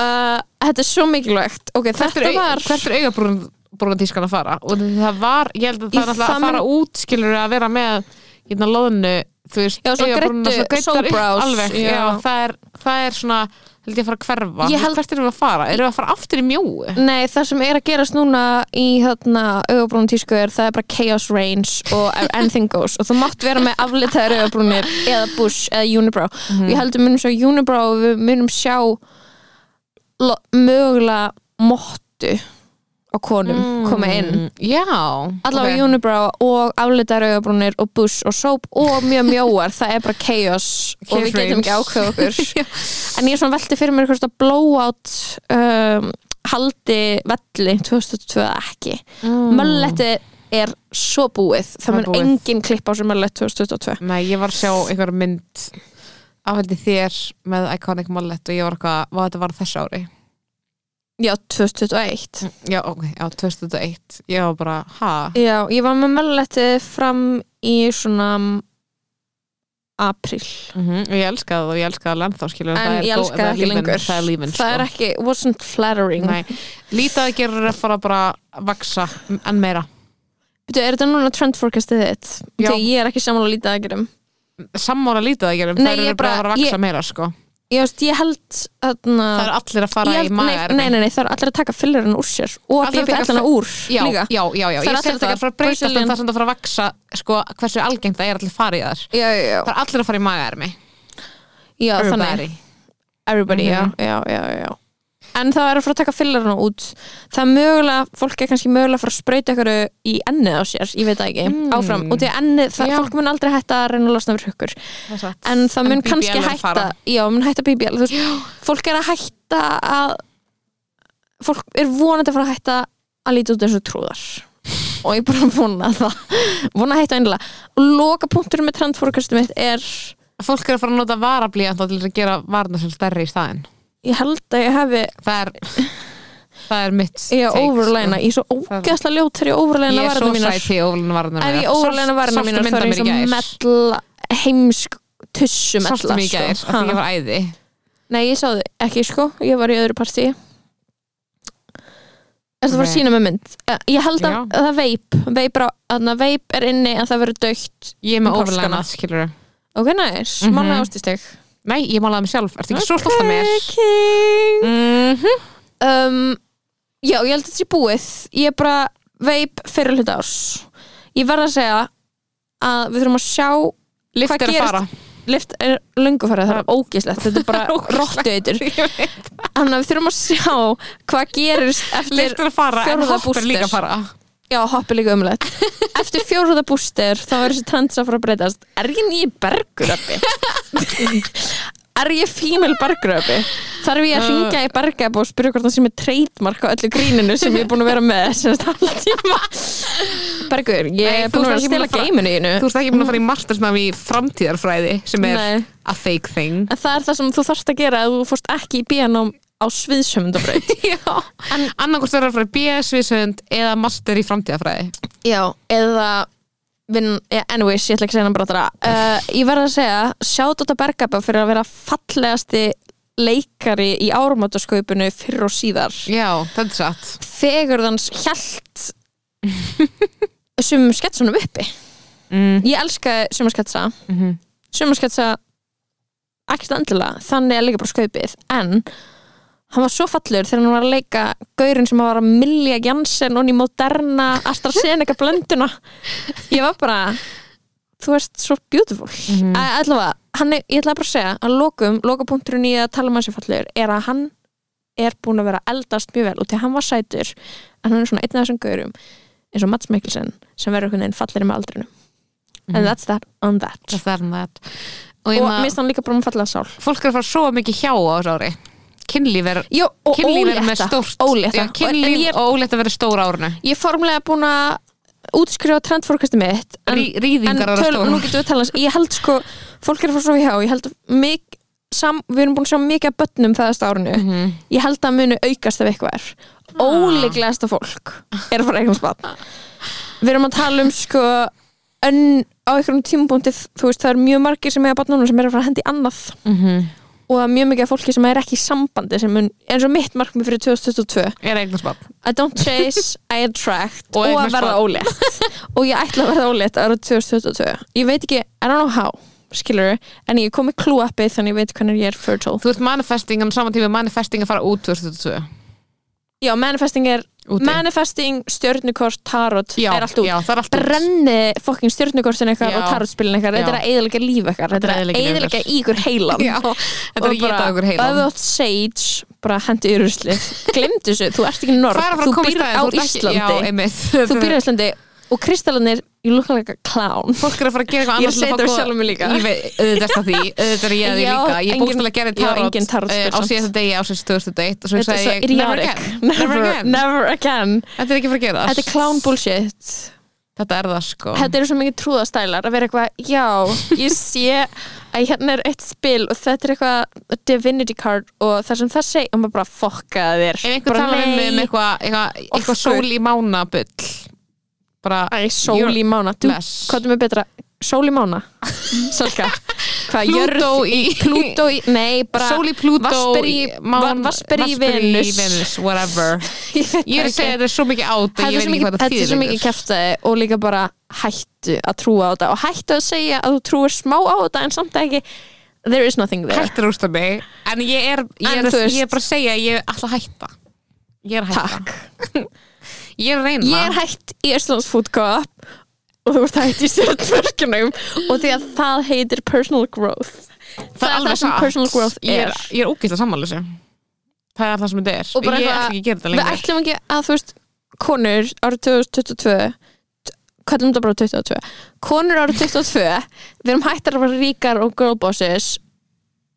S3: uh, þetta er svo mikilvægt okay,
S4: hvert,
S3: þetta
S4: er,
S3: var
S4: var... hvert er augabrún brúnan tískan að fara og það var, ég held
S3: Í
S4: að það er alltaf
S3: það
S4: að fara út skilur að vera með hérna loðinu, þú veist,
S3: Já, svona
S4: augabrúnirnar,
S3: græddu-
S4: græddar upp
S3: soulbrows,
S4: alveg,
S3: já.
S4: já. það, er, það er svona, held ég að fara að hverfa
S3: Ég held-
S4: hvert erum við að fara, erum við að fara aftur í mjóu
S3: Nei, það sem er að gerast núna í þarna augabrúnum tísku er það er bara chaos range og e- anything goes og þú mátt vera með aflitaðar augabrúnir eða bush eða unibrow og ég heldur munum sjá unibrow og við munum sjá lo- mögulega mottu á konum
S4: Mm.
S3: Mm, koma inn
S4: já,
S3: allavega okay. unibrow og aflitaðar augabrúnir og bush og sóp og mjög mjóar það er bara chaos og við
S4: Chaos
S3: getum ekki
S4: range.
S3: ákveð okkur en ég er svona velti fyrir mér hvort að blowout um, haldi velli 2002 eða ekki mm. mölletti er svo búið það
S4: Það er
S3: mun
S4: búið.
S3: engin klipp á sem möllett 2022
S4: Nei, ég var að sjá einhver mynd afhaldi þér með Iconic Mullet og ég var eitthvað, hvað þetta var á þessu ári
S3: já, 2021
S4: Já, ok, já, 2001 Ég var bara, ha?
S3: já, ég var með mölletti fram í svona apríl
S4: Mm og Ég elskaði það og ég elskaði það lennþá skilur
S3: en ég elska það ekki lengur
S4: Það er lífin, sko.
S3: það er ekki, wasn't flattering
S4: Nei, lítið að gera er að fara bara að vaksa enn meira
S3: Býtu, er þetta núna trend forecastið þitt?
S4: Já.
S3: Býtu, ég er ekki sammála lítið um. aðgerðum
S4: Sammála lítið að gera,
S3: Nei,
S4: það
S3: ég
S4: eru bara að fara að
S3: bara-
S4: vaksa
S3: ég-
S4: meira sko.
S3: Ég, veist, ég held þarna,
S4: Það eru allir að fara
S3: ég held,
S4: í maður
S3: nei, nei, nei, nei, það er allir að taka fyllerinn úr sér og
S4: Allir
S3: að
S4: að
S3: bíbi
S4: taka
S3: allana
S4: fi-
S3: úr
S4: Já,
S3: líka
S4: já, já, já,
S3: Það er
S4: ég sé
S3: allir að
S4: þetta
S3: taka
S4: að fara að breytast en
S3: Brazilian-
S4: það er samt að fara að vaksa sko, hversu algengt það er allir að fara í þar
S3: já, já, já.
S4: Það er allir að fara í magaermi
S3: já
S4: Everybody
S3: þannig, everybody
S4: Mhm.
S3: já, já, já, já En það er að fara að taka fyllerinn út Það er mögulega, fólk er kannski mögulega að fara að sprauta ykkur í ennið á sér, ég veit það ekki
S4: Mm.
S3: áfram, og því að ennið, það,
S4: Já.
S3: fólk mun aldrei hætta að reyna að losna fyrir hukkur en það
S4: En
S3: mun
S4: BBL
S3: kannski
S4: er að
S3: hætta
S4: fara.
S3: já, mun hætta BBL þú veist, fólk er að hætta að fólk er vonandi að fara að hætta að líta út eins og trúðar og ég bara vona það vona að hætta einlega og loka punktur með trendfórkastum mitt er
S4: Fólk er að fara að nota varablíðan til að gera varna sem stærri í staðinn
S3: ég held að ég hefi
S4: Það er, það er mitt
S3: ég
S4: take,
S3: er overlæna, ég er svo ógæslega ljótt þegar ég
S4: sko. Ég
S3: overlæna
S4: er svo
S3: varðina mínar
S4: sætt í overlæna varðina
S3: ef ég overlæna varðina mínar þá er ég svo mell heimsk sko. tussum
S4: Sástu mig í gær, af því ég var æði
S3: Nei, ég sá þið ekki sko, ég var í öðru partí Er það bara að
S4: Nei.
S3: sína með mynd? Eh, Ég held að,
S4: Já.
S3: að það veip veip, á- þarna, veip er inni en það verður dögt
S4: Ég er með
S3: Um
S4: overlæna,
S3: páskana.
S4: skilur
S3: Ok, næs,
S4: Mhm.
S3: málega ástísteg
S4: Nei, ég málaði mig sjálf, ertu ekki svo stolt af mér
S3: okay.
S4: Mhm.
S3: um, Já, ég held að þetta sé búið Ég er bara veip fyrir hluta árs Ég verð að segja að við þurfum að sjá
S4: Lyft
S3: Hvað
S4: er að
S3: gerist?
S4: fara
S3: Lift er löngu farið, það er ógislegt Þetta er bara róttu eitur Þannig að við þurfum að sjá hvað gerist eftir
S4: Lyft er að fara, en
S3: fjórða
S4: hopp er
S3: booster.
S4: líka að fara
S3: Já, hoppi líka umlegt Eftir fjóruða bústir þá er þessi trends að fara að breytast Er ég nýi bergröppi? er ég female bergröppi? Þarf ég að ringja
S4: Uh.
S3: í bergröppi og spyrja hvort það sé með trademark á öllu gríninu sem ég er búin að vera með semst allan tíma Bergur, ég
S4: Nei,
S3: er
S4: þú
S3: búin að vera að
S4: ert ekki búin
S3: stela
S4: að fara-
S3: geiminu í
S4: Þú
S3: hennu
S4: ert ekki búin að fara í mastersnám í framtíðarfræði sem er
S3: Nei.
S4: a fake thing
S3: En það er það sem þú þarft að gera ef þú fórst ekki í bíanum á sviðsömyndabraut
S4: Já, annarkvort verður að fara í BS viðsönd eða master í framtíðarfræði
S3: Já, eða vin, yeah, anyways, ég ætla ekki að segja hann brátara uh, Ég verð að segja, sjátt út að Bergaba fyrir að vera fallegasti leikari í árumáttaskaupinu fyrr og síðar
S4: Já, þetta er satt
S3: Fegurðans hjælt sumum sketsunum uppi
S4: mm.
S3: Ég elska sumum sketsa
S4: Mm -hmm.
S3: sumum sketsa ekkert endilega, þannig er líka bara skaupið en hann var svo fallur þegar hann var að leika gaurinn sem var að millja Janssen og hann í moderna AstraZeneca blönduna ég var bara þú ert svo beautiful mm
S4: Mhm.
S3: allavega, hann er, ég ætla bara að segja að lokum, lokapunkturinn í að tala um hans fallur er að hann er búin að vera að eldast mjög vel og til hann var sætur en hann er svona einn af þessum gaurum eins og Mats Mikkelsen sem verður einhvern veginn fallir með aldrinu and that's that on that
S4: Það er með Og,
S3: og
S4: og
S3: mér finnst hann líka bara um fallega sál
S4: fólk er að fara svo mikið hjá á þessu ári Kynlíf er
S3: Jó, og
S4: Kynlíf er með stórt
S3: ólétta.
S4: Já,
S3: En
S4: Kynlíf
S3: ég,
S4: og ólétt að vera stóra árinu
S3: ég er formlega búin að útskrifa trendfórkastum mitt en,
S4: Rí, Rýðingar
S3: en
S4: að vera
S3: töl,
S4: stóra
S3: nú getum við að tala aðeins. ég held sko, fólk er að fara svo hjá ég held að mik, sam, við erum búin að sjá mikið að bönnum þaðast árinu
S4: Mhm.
S3: ég held að muni aukast ef eitthvað er
S4: Ah.
S3: óleglegasta fólk er að fara eitthvað spann við erum að tala um sko önn á einhverjum tímabúndi þú veist það er mjög margir sem eiga bannunum sem er að fara að hendi annað
S4: Mhm.
S3: og að mjög mikið af fólki sem er ekki í sambandi sem mun, eins og mitt markmið fyrir 2022
S4: Er eitthvað spátt
S3: I don't chase, I attract
S4: Og
S3: og, að
S4: eignast
S3: verða
S4: barn.
S3: ólétt og ég ætla að verða ólétt ára 2022 ég veit ekki, I don't know how skilur, en ég kom með klúappið þannig ég veit hvernig ég er fertile
S4: Þú ert manifesting en á saman tíma er manifesting að fara út 2022
S3: já, manifesting er,
S4: Úti.
S3: manifesting, stjörnukort, tarot,
S4: já,
S3: það er allt út
S4: Já, það er allt út
S3: brenni fokkin stjörnukortin ykkar
S4: Já.
S3: og tarotspilin ykkar, þetta er
S4: Já.
S3: að eðalega líf ykkar þetta er að
S4: eyðileggja líf
S3: eðalega í ykkur heilan
S4: Já, þetta er
S3: og
S4: að geta okkur
S3: ef þú
S4: heilan
S3: átt sage, bara hendi í ruslið glemdu þessu, þú ert ekki norð
S4: Hvað er að fara
S3: þú
S4: að koma í
S3: býr á
S4: staðinn? Þú ert ekki-
S3: Íslandi
S4: Já, einmitt
S3: þú býr á Íslandi og kristallanir you look like a clown
S4: Fólk er að fara að gera eitthvað
S3: Ég er
S4: annars
S3: að leita við sjálfum mig líka.
S4: Ég veit, auðvitað er það því Auðvitað er ég að því
S3: Já,
S4: líka Ég
S3: engin-
S4: bókst alveg að gera
S3: já, engin
S4: tarot
S3: tarot
S4: eh,
S3: spil
S4: á
S3: samt.
S4: síðasta degi ásins 2001 og svo
S3: þetta er svo
S4: sagði ég never
S3: idiotic
S4: again
S3: never,
S4: again
S3: never again
S4: Þetta er ekki að fara að gera
S3: þetta er clown bullshit
S4: Þetta er það sko
S3: þetta eru svo mikið trúðastælar að vera eitthvað, já, ég sé að hérna er eitt spil og þetta er eitthvað divinity card og það sem það segi og maður bara fokka þér
S4: Ef einhver
S3: Bara,
S4: talar um
S3: nei,
S4: um eitthvað eitthvað-
S3: Orku.
S4: eitthvað sól í mánabull bara
S3: Æ, sól í
S4: You're
S3: mána, þú,
S4: bless.
S3: hvað er með betra sól í mána, Salka hvað, jörð,
S4: Plútó í
S3: Plútó í, nei, bara
S4: Sól í Plútó
S3: Vatnsber í,
S4: mán-
S3: Vasper í
S4: Vatnsber
S3: Venus
S4: Whatever
S3: Ég veit
S4: Ég er að
S3: ekki.
S4: segja þetta er svo mikið át að
S3: Þetta er
S4: ég veit
S3: svo
S4: ekki
S3: mikið,
S4: hvað það
S3: þetta er
S4: þýðir
S3: svo mikið
S4: lengur.
S3: kæftæði og líka bara hættu að trúa á þetta og hættu að segja að þú trúir smá á þetta en samt ekki there is nothing there
S4: Hættir úrst af mig En ég er, ég
S3: En
S4: er,
S3: þú veist-
S4: ég er bara að segja að ég ætla að hætta Ég er að hætta
S3: Takk.
S4: Ég er að reyna
S3: Ég er hætt í Íslands food co-op og þú ert hætt í stjórnverkjunum og því að það heitir personal growth
S4: Það,
S3: það er
S4: alveg
S3: það sem
S4: satt.
S3: personal growth
S4: Ég er,
S3: er.
S4: ég er ógæslega sammála þessu Það er það sem þetta er
S3: Og bara
S4: Ég
S3: eitthvað-
S4: ætla ekki að gera þetta
S3: Við
S4: lengur
S3: ætlum ekki að þú veist konur árið 2022 t- kallum þetta bara 2022 konur árið 2022 við erum hættar að vera ríkar og girlbosses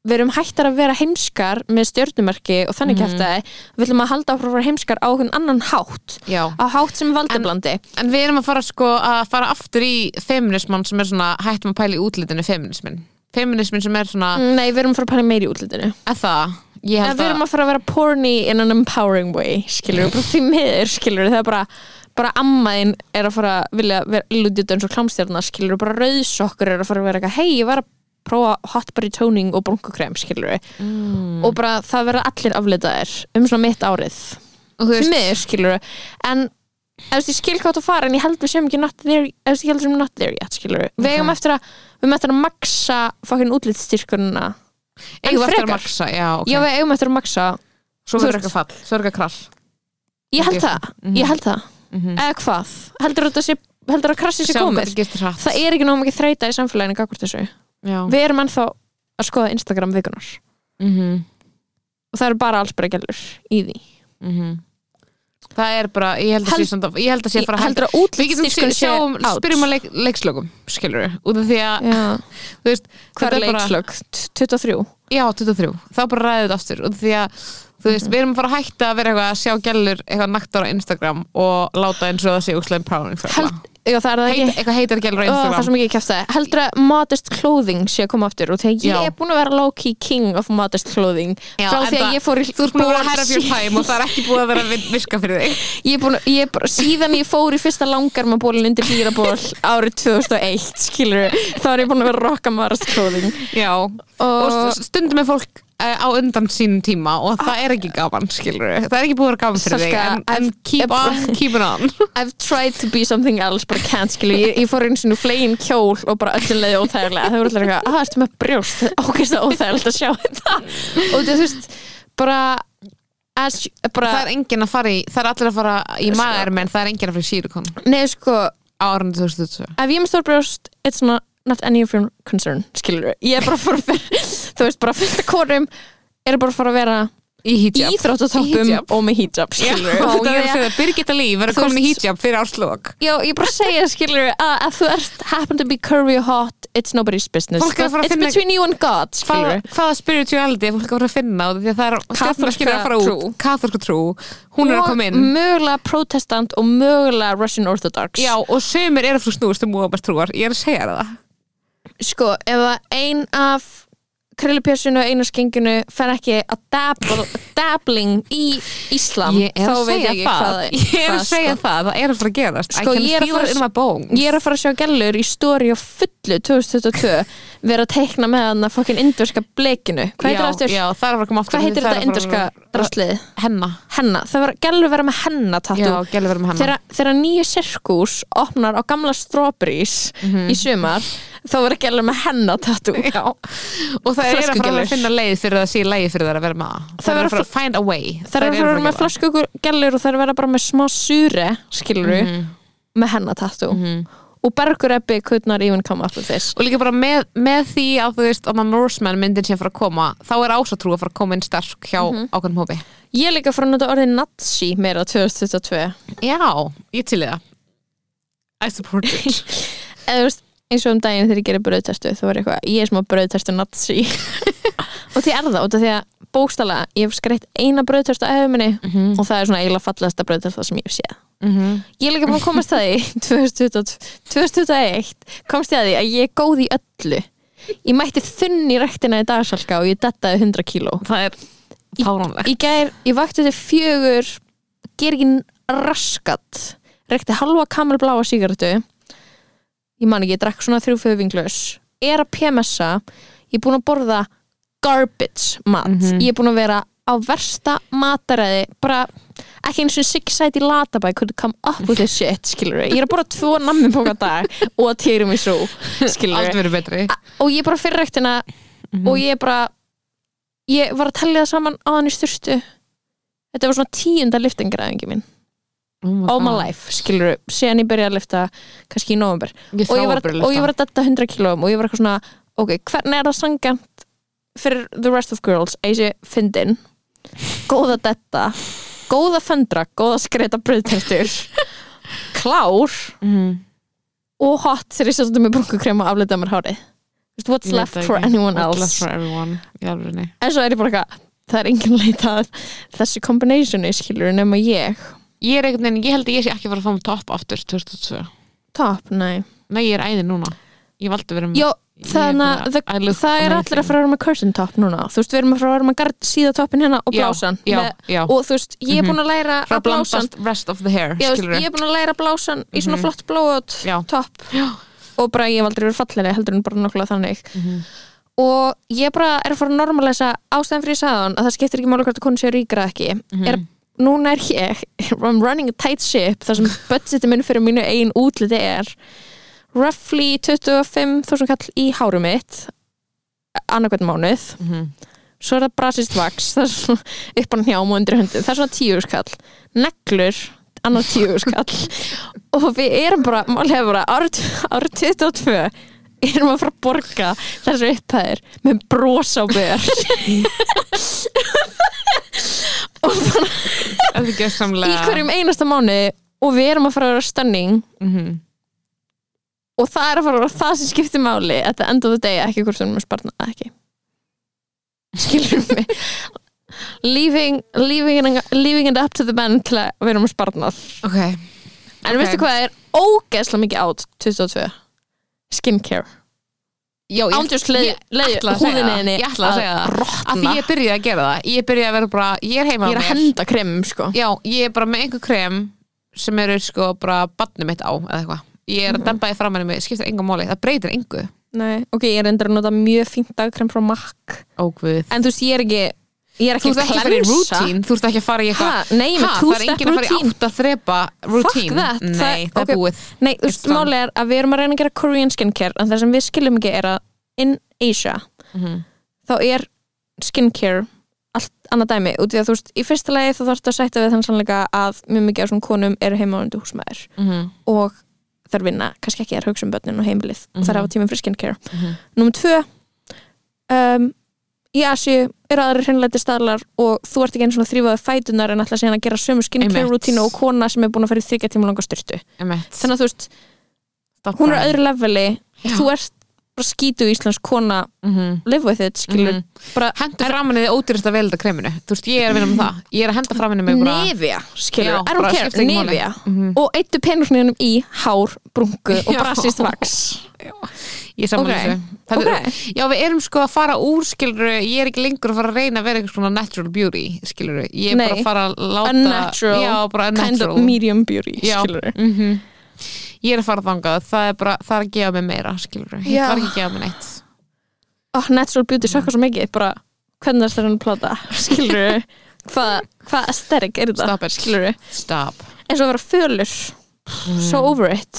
S3: við erum hættar að vera heimskar með stjórnumerki og
S4: Mhm.
S3: þannig mm. við ætlum að halda áfram að vera heimskar á einhvern annan hátt
S4: Já.
S3: á hátt sem er valdablandi
S4: En við erum að fara sko að fara aftur í feminismann sem er svona hættum að pæla í útlitinu feminismin Feminismin sem er svona mm.
S3: Nei, við erum að fara að pæla meiri í útlitinu
S4: það, ég
S3: En
S4: held
S3: við erum að fara að vera porny in an empowering way skilur við, bara því miður skilur við það er bara, bara ammaðin er að fara að vilja vera lútið eins og klámstjarna skilur við, bara rauðsokkur er að fara að vera eitthvað hei, ég var að prófa hot body toning og brunkukrem skilur við mm. og bara það verða allir aflitaðir um svona mitt árið
S4: Og þú
S3: því
S4: veist-
S3: miður skilur við en ef þú veist, ég skil hvað þú fara en ég held við sem ekki not there, ef þú veist, ég held við sem not there yet skilur við, við eigum eftir að við eigum eftir að maksa fokkin útlitsstyrkunna
S4: Eigum við eftir að
S3: frekar.
S4: maksa, já, ok
S3: já, við eigum eftir að maksa
S4: Svo
S3: þú
S4: verður
S3: veist-
S4: eitthvað fall, svo verður eitthvað krall
S3: Ég held
S4: Ég-
S3: það,
S4: Mhm.
S3: ég held það Eða hvað, heldur þetta sé heldur að krassi sé
S4: Sjáum hvað
S3: komið
S4: um þetta gerist hratt
S3: Það er ekki nóg mikið þreita í samfélaginu gagvart þessu
S4: Já,
S3: Við erum ennþá að skoða Instagram vikunar
S4: mhm,
S3: og það eru bara alls bara gælur í því
S4: mhm það er bara, ég held að sé
S3: Held-
S4: samt að- ég held að sé bara
S3: heldur að
S4: Við getum
S3: útlitsdískun sé
S4: sjáum,
S3: out.
S4: spyrjum að leik, leikslökum skilur við, út af því að
S3: Já.
S4: þú veist,
S3: Hver
S4: þetta er bara-
S3: leikslög? 23?
S4: Já, 23, þá bara ræðið þetta aftur og því að, þú veist, við erum bara hægt að vera eitthvað að sjá gælur eitthvað naktar á Instagram og láta eins og það sé úkslega empowering fyrir
S3: Held,
S4: hana.
S3: já, það er það
S4: Heit,
S3: ekki
S4: eitthvað heitar gælur á
S3: Ó, Það er svo
S4: Instagram
S3: mikið ég kæfti það Heldur að modest clothing sé að koma aftur og þegar
S4: Já.
S3: ég er búin að vera low-key king of modest clothing
S4: Já,
S3: frá því
S4: enda-
S3: að ég fór í
S4: Þú ert búin að vera
S3: fór
S4: herra fyrir
S3: sí-
S4: tæm og það er ekki búið að vera að vin- virka fyrir þig
S3: ég er búin, að- ég er bara, síðan ég fór í fyrsta langarmaból undir dýraból árið 2001 skilur þá er ég búin að vera að rocka modest clothing
S4: Já, og
S3: og
S4: st- stundum er fólk eh, á undan sínum tíma og það er ekki gaman, skilur við það er ekki búið að vera gaman fyrir þig
S3: Salka,
S4: en, en
S3: ef-
S4: keep
S3: ef-
S4: on, keep it on
S3: I've tried to be something else bara can't skilur, ég, ég fór einu sinni flegin kjól og bara öllum leiði óþægilega það voru allir eitthvað, að það ertu með brjóst ákveðst það óþægilegt að sjá þetta og þú veist, bara as, bara,
S4: Það er engin að fara í, það er allir að fara í
S3: Sko.
S4: maður menn það er engin að fara í sírikon
S3: nei sko
S4: á árunni
S3: ef ég
S4: 2002
S3: er með stór brjóst, it's not, not any of your concern, skilur ég er bara að fara að vera, þú veist, bara fylgta konum eru bara að fara að vera í
S4: Í hijab Í
S3: íþróttatoppum
S4: hijab.
S3: og með hijab, skilur
S4: Já, ég er að segja Birgitta Líf verður
S3: Þú
S4: komin í
S3: veist-
S4: hijab fyrir áslokk
S3: Já, ég bara segja, skilur að ef þú ert happen to be curvy og hot it's nobody's business
S4: Fólk er að fara að
S3: It's
S4: finna-
S3: between you and God,
S4: Hvaða,
S3: skilur
S4: hvaða spirituality er fólk að fara að finna á því að það er
S3: Kaþólska
S4: skilur að fara út,
S3: trú.
S4: katholska trú hún er að koma inn
S3: mögulega protestant og mögulega Russian Orthodox
S4: Já, og sömur eru frá snúist um Múhameds trúar ég er að segja þér það
S3: sko, ef að ein af krillupjössinu og einu skenginu fer ekki að dabl, dabbling í Íslam þá veit ég ekki hvað það
S4: Ég er
S3: hvað,
S4: að segja
S3: sko.
S4: það, það er að fara að gerast
S3: Sko,
S4: I can
S3: ég er að
S4: feel
S3: fara-
S4: it in my bones
S3: Ég er að fara að sjá gælur í stóri og fullu 2022 vera að teikna með hann að fokkin indurska blekinu Hvað heitir það
S4: Já,
S3: aftur?
S4: Já, það er að fara að koma aftur
S3: Hvað heitir
S4: það er
S3: þetta
S4: að fara
S3: indurska
S4: að-
S3: drastlið?
S4: Henna
S3: Henna, það var gælur vera með henna
S4: Já,
S3: tattoo
S4: gælu verið með henna
S3: þegar, þegar nýju sirkus opnar á gamla strawberries í sumar þá verður ekki alveg með henna tattoo
S4: Mhm. Já, og það er að fara
S3: Flöskugellur.
S4: að finna leið fyrir það að sé leið fyrir það að vera með það Það er
S3: eru
S4: að fara að find a way
S3: það er að fara með flaskugellur og það er að vera bara með smá sure skiluru,
S4: Mhm.
S3: með henna tattoo og bergur ebbi kutnar even come up with this
S4: og líka bara með, með því að þú veist að maður Norseman myndin sem fara að koma þá er ásatrú að fara að koma inn sterk hjá
S3: Mhm.
S4: ákveðnum hópi
S3: ég er líka frá að nota orðið nazi meira 2022
S4: já, ég til í það I support it
S3: eða þú veist eins og um daginn þegar ég gerir brauðtestu þá var ég eitthvað, ég er smá brauðtestu nazi og því er það, út af því að bókstala, ég hef skreitt eina brauðtestu á hefuminni og það er svona eiginlega fallegasta brauðtesta sem ég hef séð
S4: mm -hmm.
S3: ég er líka búin að komast að því 2020 2021 komst ég að því að ég er góð í öllu ég mætti þunni rektina í dagsalka og ég dettaði 100 kíló
S4: það er fáránlegt
S3: í gær, ég vakti til fjögur ger ekki raskat rekti halva kamelbláa sigartu ég man ekki, ég drakk svona þrjú fjögur vinglaus er að PMS-a ég er búin að borða garbage mat ég er búin að vera á versta mataræði bara ekki eins og six sæti latabæk hvernig come up with this shit, skilur við ég er að borða tvo nammi bóka dag og týrum í svo, skilur
S4: allt verið betri
S3: og ég bara fyrir rektina
S4: Mhm.
S3: og ég bara ég var að tellja það saman á hann í styrstu þetta var svona tíunda liftingræðingi mín
S4: Oh
S3: all Oh my life, skilur síðan ég byrjaði að lifta kannski í november
S4: ég
S3: og ég, var,
S4: að,
S3: og ég var að detta 100 kílóum og ég var eitthvað svona, ok, hvernig er það sangant fyrir the rest of girls að ég sé fyndin góða detta, góða föndra góða skreita bröðtertur klár
S4: mm.
S3: og hot þegar ég setjum með brúnkukrem og aflitaði mér hárið Just What's
S4: Ég veit
S3: left
S4: það
S3: for
S4: ekki.
S3: anyone else
S4: What's left for everyone í alvörinni
S3: en svo er ég bara eitthvað það er engin leitað þessu kombinationi skilur nema ég
S4: ég er einhvern veginn, ég held að ég sé ekki að fara að fá mig topp aftur 2002,
S3: top, nei
S4: nei ég er æði núna ég valdi verið með
S3: Jó,
S4: Mm, Ég er
S3: þannig að
S4: bara- I
S3: það-
S4: look
S3: það er allir að fara að vera með curtain top núna þú veist, við erum að fara að vera með gard, síða toppin hérna og
S4: Já,
S3: blásan
S4: já,
S3: með,
S4: já. Mhm.
S3: og þú veist, ég er búin að læra
S4: Fara
S3: að
S4: að
S3: blásan
S4: blandast rest of the hair
S3: já, þú veist,
S4: skilurðu. Mhm.
S3: ég er búin að læra blásan í svona flott blóðut
S4: Já.
S3: topp og bara ég hef aldrei verið fallegri heldur en bara nokkulega þannig og ég bara er að fara að normalisa ástæðan fyrir sæðan að það skiptir ekki máli hvort að konu sé ríkra ekki er, núna er ég I'm running a tight ship þar sem budgetin minn fyrir mínu eigin útliti er roughly 25.000 kall í hárum mitt annarkvæmt mánuð
S4: Mhm.
S3: svo er það brasist vaks það er svona upp á njám og undir höndum það er svona tíu skall neglur, annar tíu skall og við erum bara, málið er bara árið ári 22 erum að fara að borga þessu upphæðir með bros á ber og bara
S4: þetta er
S3: í
S4: gjössamlega
S3: hverjum einasta mánu og við erum að fara að vera stunning
S4: Mhm.
S3: og það er að fara að vera það sem skiptir máli at the end of the day ekki hvort við erum að sparna eða ekki skilur mig leaving, leaving, it- leaving it up to the man til að við erum að sparna
S4: ok,
S3: en
S4: Ok.
S3: veistu hvað er ógeðslega mikið átt 2002 skincare
S4: já, ég,
S3: ándjúst leið,
S4: ég
S3: leið
S4: ætla að segja
S3: húðinni
S4: það
S3: henni
S4: ég ætla að segja það
S3: rotna.
S4: að því ég byrjaði að gera það ég byrjaði að vera bara, ég er heima
S3: ég er að
S4: á mér.
S3: henda kremum sko
S4: já, ég er bara með einhver krem sem eru sko bara badnum mitt á eða eitthvað,
S3: Mhm.
S4: ég er að demba því fram henni mig skiptir enga máli, það breytir engu
S3: Nei, ok, ég er endur að nota mjög fínt dagkrem frá MAC
S4: ógvöð,
S3: en þú veist, ég er ekki ég er ekki
S4: þú ert ekki að fara í routine þú ert ekki að fara í eitthvað
S3: Ha, nei, með
S4: Ha, það er
S3: two-step
S4: enginn að fara í
S3: routine
S4: átt að þrepa routine
S3: Fuck that,
S4: nei,
S3: það-
S4: það,
S3: ok.
S4: er búið
S3: Nei, þú veist,
S4: It's done.
S3: máli er að við erum að reyna að gera Korean skincare en það sem við skiljum ekki er að in Asia
S4: Mhm.
S3: þá er skincare allt annað dæmi, út við að þú veist í fyrsta lagi þá þarfst að sætta við þann sannleika að mjög mikið af svona konum eru heimaundu húsmaður
S4: Mhm.
S3: og þær vinna kannski ekki að hugsa um börnin og heimilið mm
S4: Mhm.
S3: -hmm. þær hafa tíma fyrir skincare
S4: Mhm.
S3: Númer tvö um, í Asi eru aðri hreinleiti staðlar og þú ert ekki einn svona þrýfaði fætunar en alltaf síðan að gera sömu skincare
S4: Einmitt.
S3: rútínu og kona sem er búin að fara í þryggja tíma langa styrtu
S4: Einmitt.
S3: þannig að þú veist,
S4: Stoppa.
S3: hún er á öðru leveli
S4: Já.
S3: þú ert bara skítu íslensk kona
S4: Mhm.
S3: live with it, skilur
S4: Mhm.
S3: bara Mhm.
S4: hendur framan í þið ódýrist að velda kreminu þú veist, ég er að vinna með það, ég er að henda framan í mig bara
S3: nefja, skilur,
S4: Já,
S3: I don't
S4: bara
S3: care,
S4: skiptir ekki máli. Mhm.
S3: nefja og eittu penurkninum í hár, brungu og
S4: Já.
S3: brasist vaks
S4: ég er saman
S3: Ok.
S4: þessu Þetta er-
S3: Ok.
S4: já, við erum sko að fara úr skiluru ég er ekki lengur að fara að reyna að vera einhvers konar natural beauty skiluru, ég er bara
S3: Nei.
S4: að fara að láta
S3: unnatural,
S4: já, bara
S3: kind of
S4: unnatural
S3: medium beauty,
S4: já,
S3: skilur
S4: mm ég er að fara þangað, það er bara það er að gefa mig meira, skiluru, ég
S3: Já.
S4: var ekki að gefa mig neitt
S3: oh, natural beauty sökkar svo mikið bara, hvernig er þetta hann að plata skilur hvað hva aesthetic er þetta
S4: Stop it.
S3: skilur
S4: stop
S3: eins og að vera fölur
S4: Mm-hmm.
S3: so over it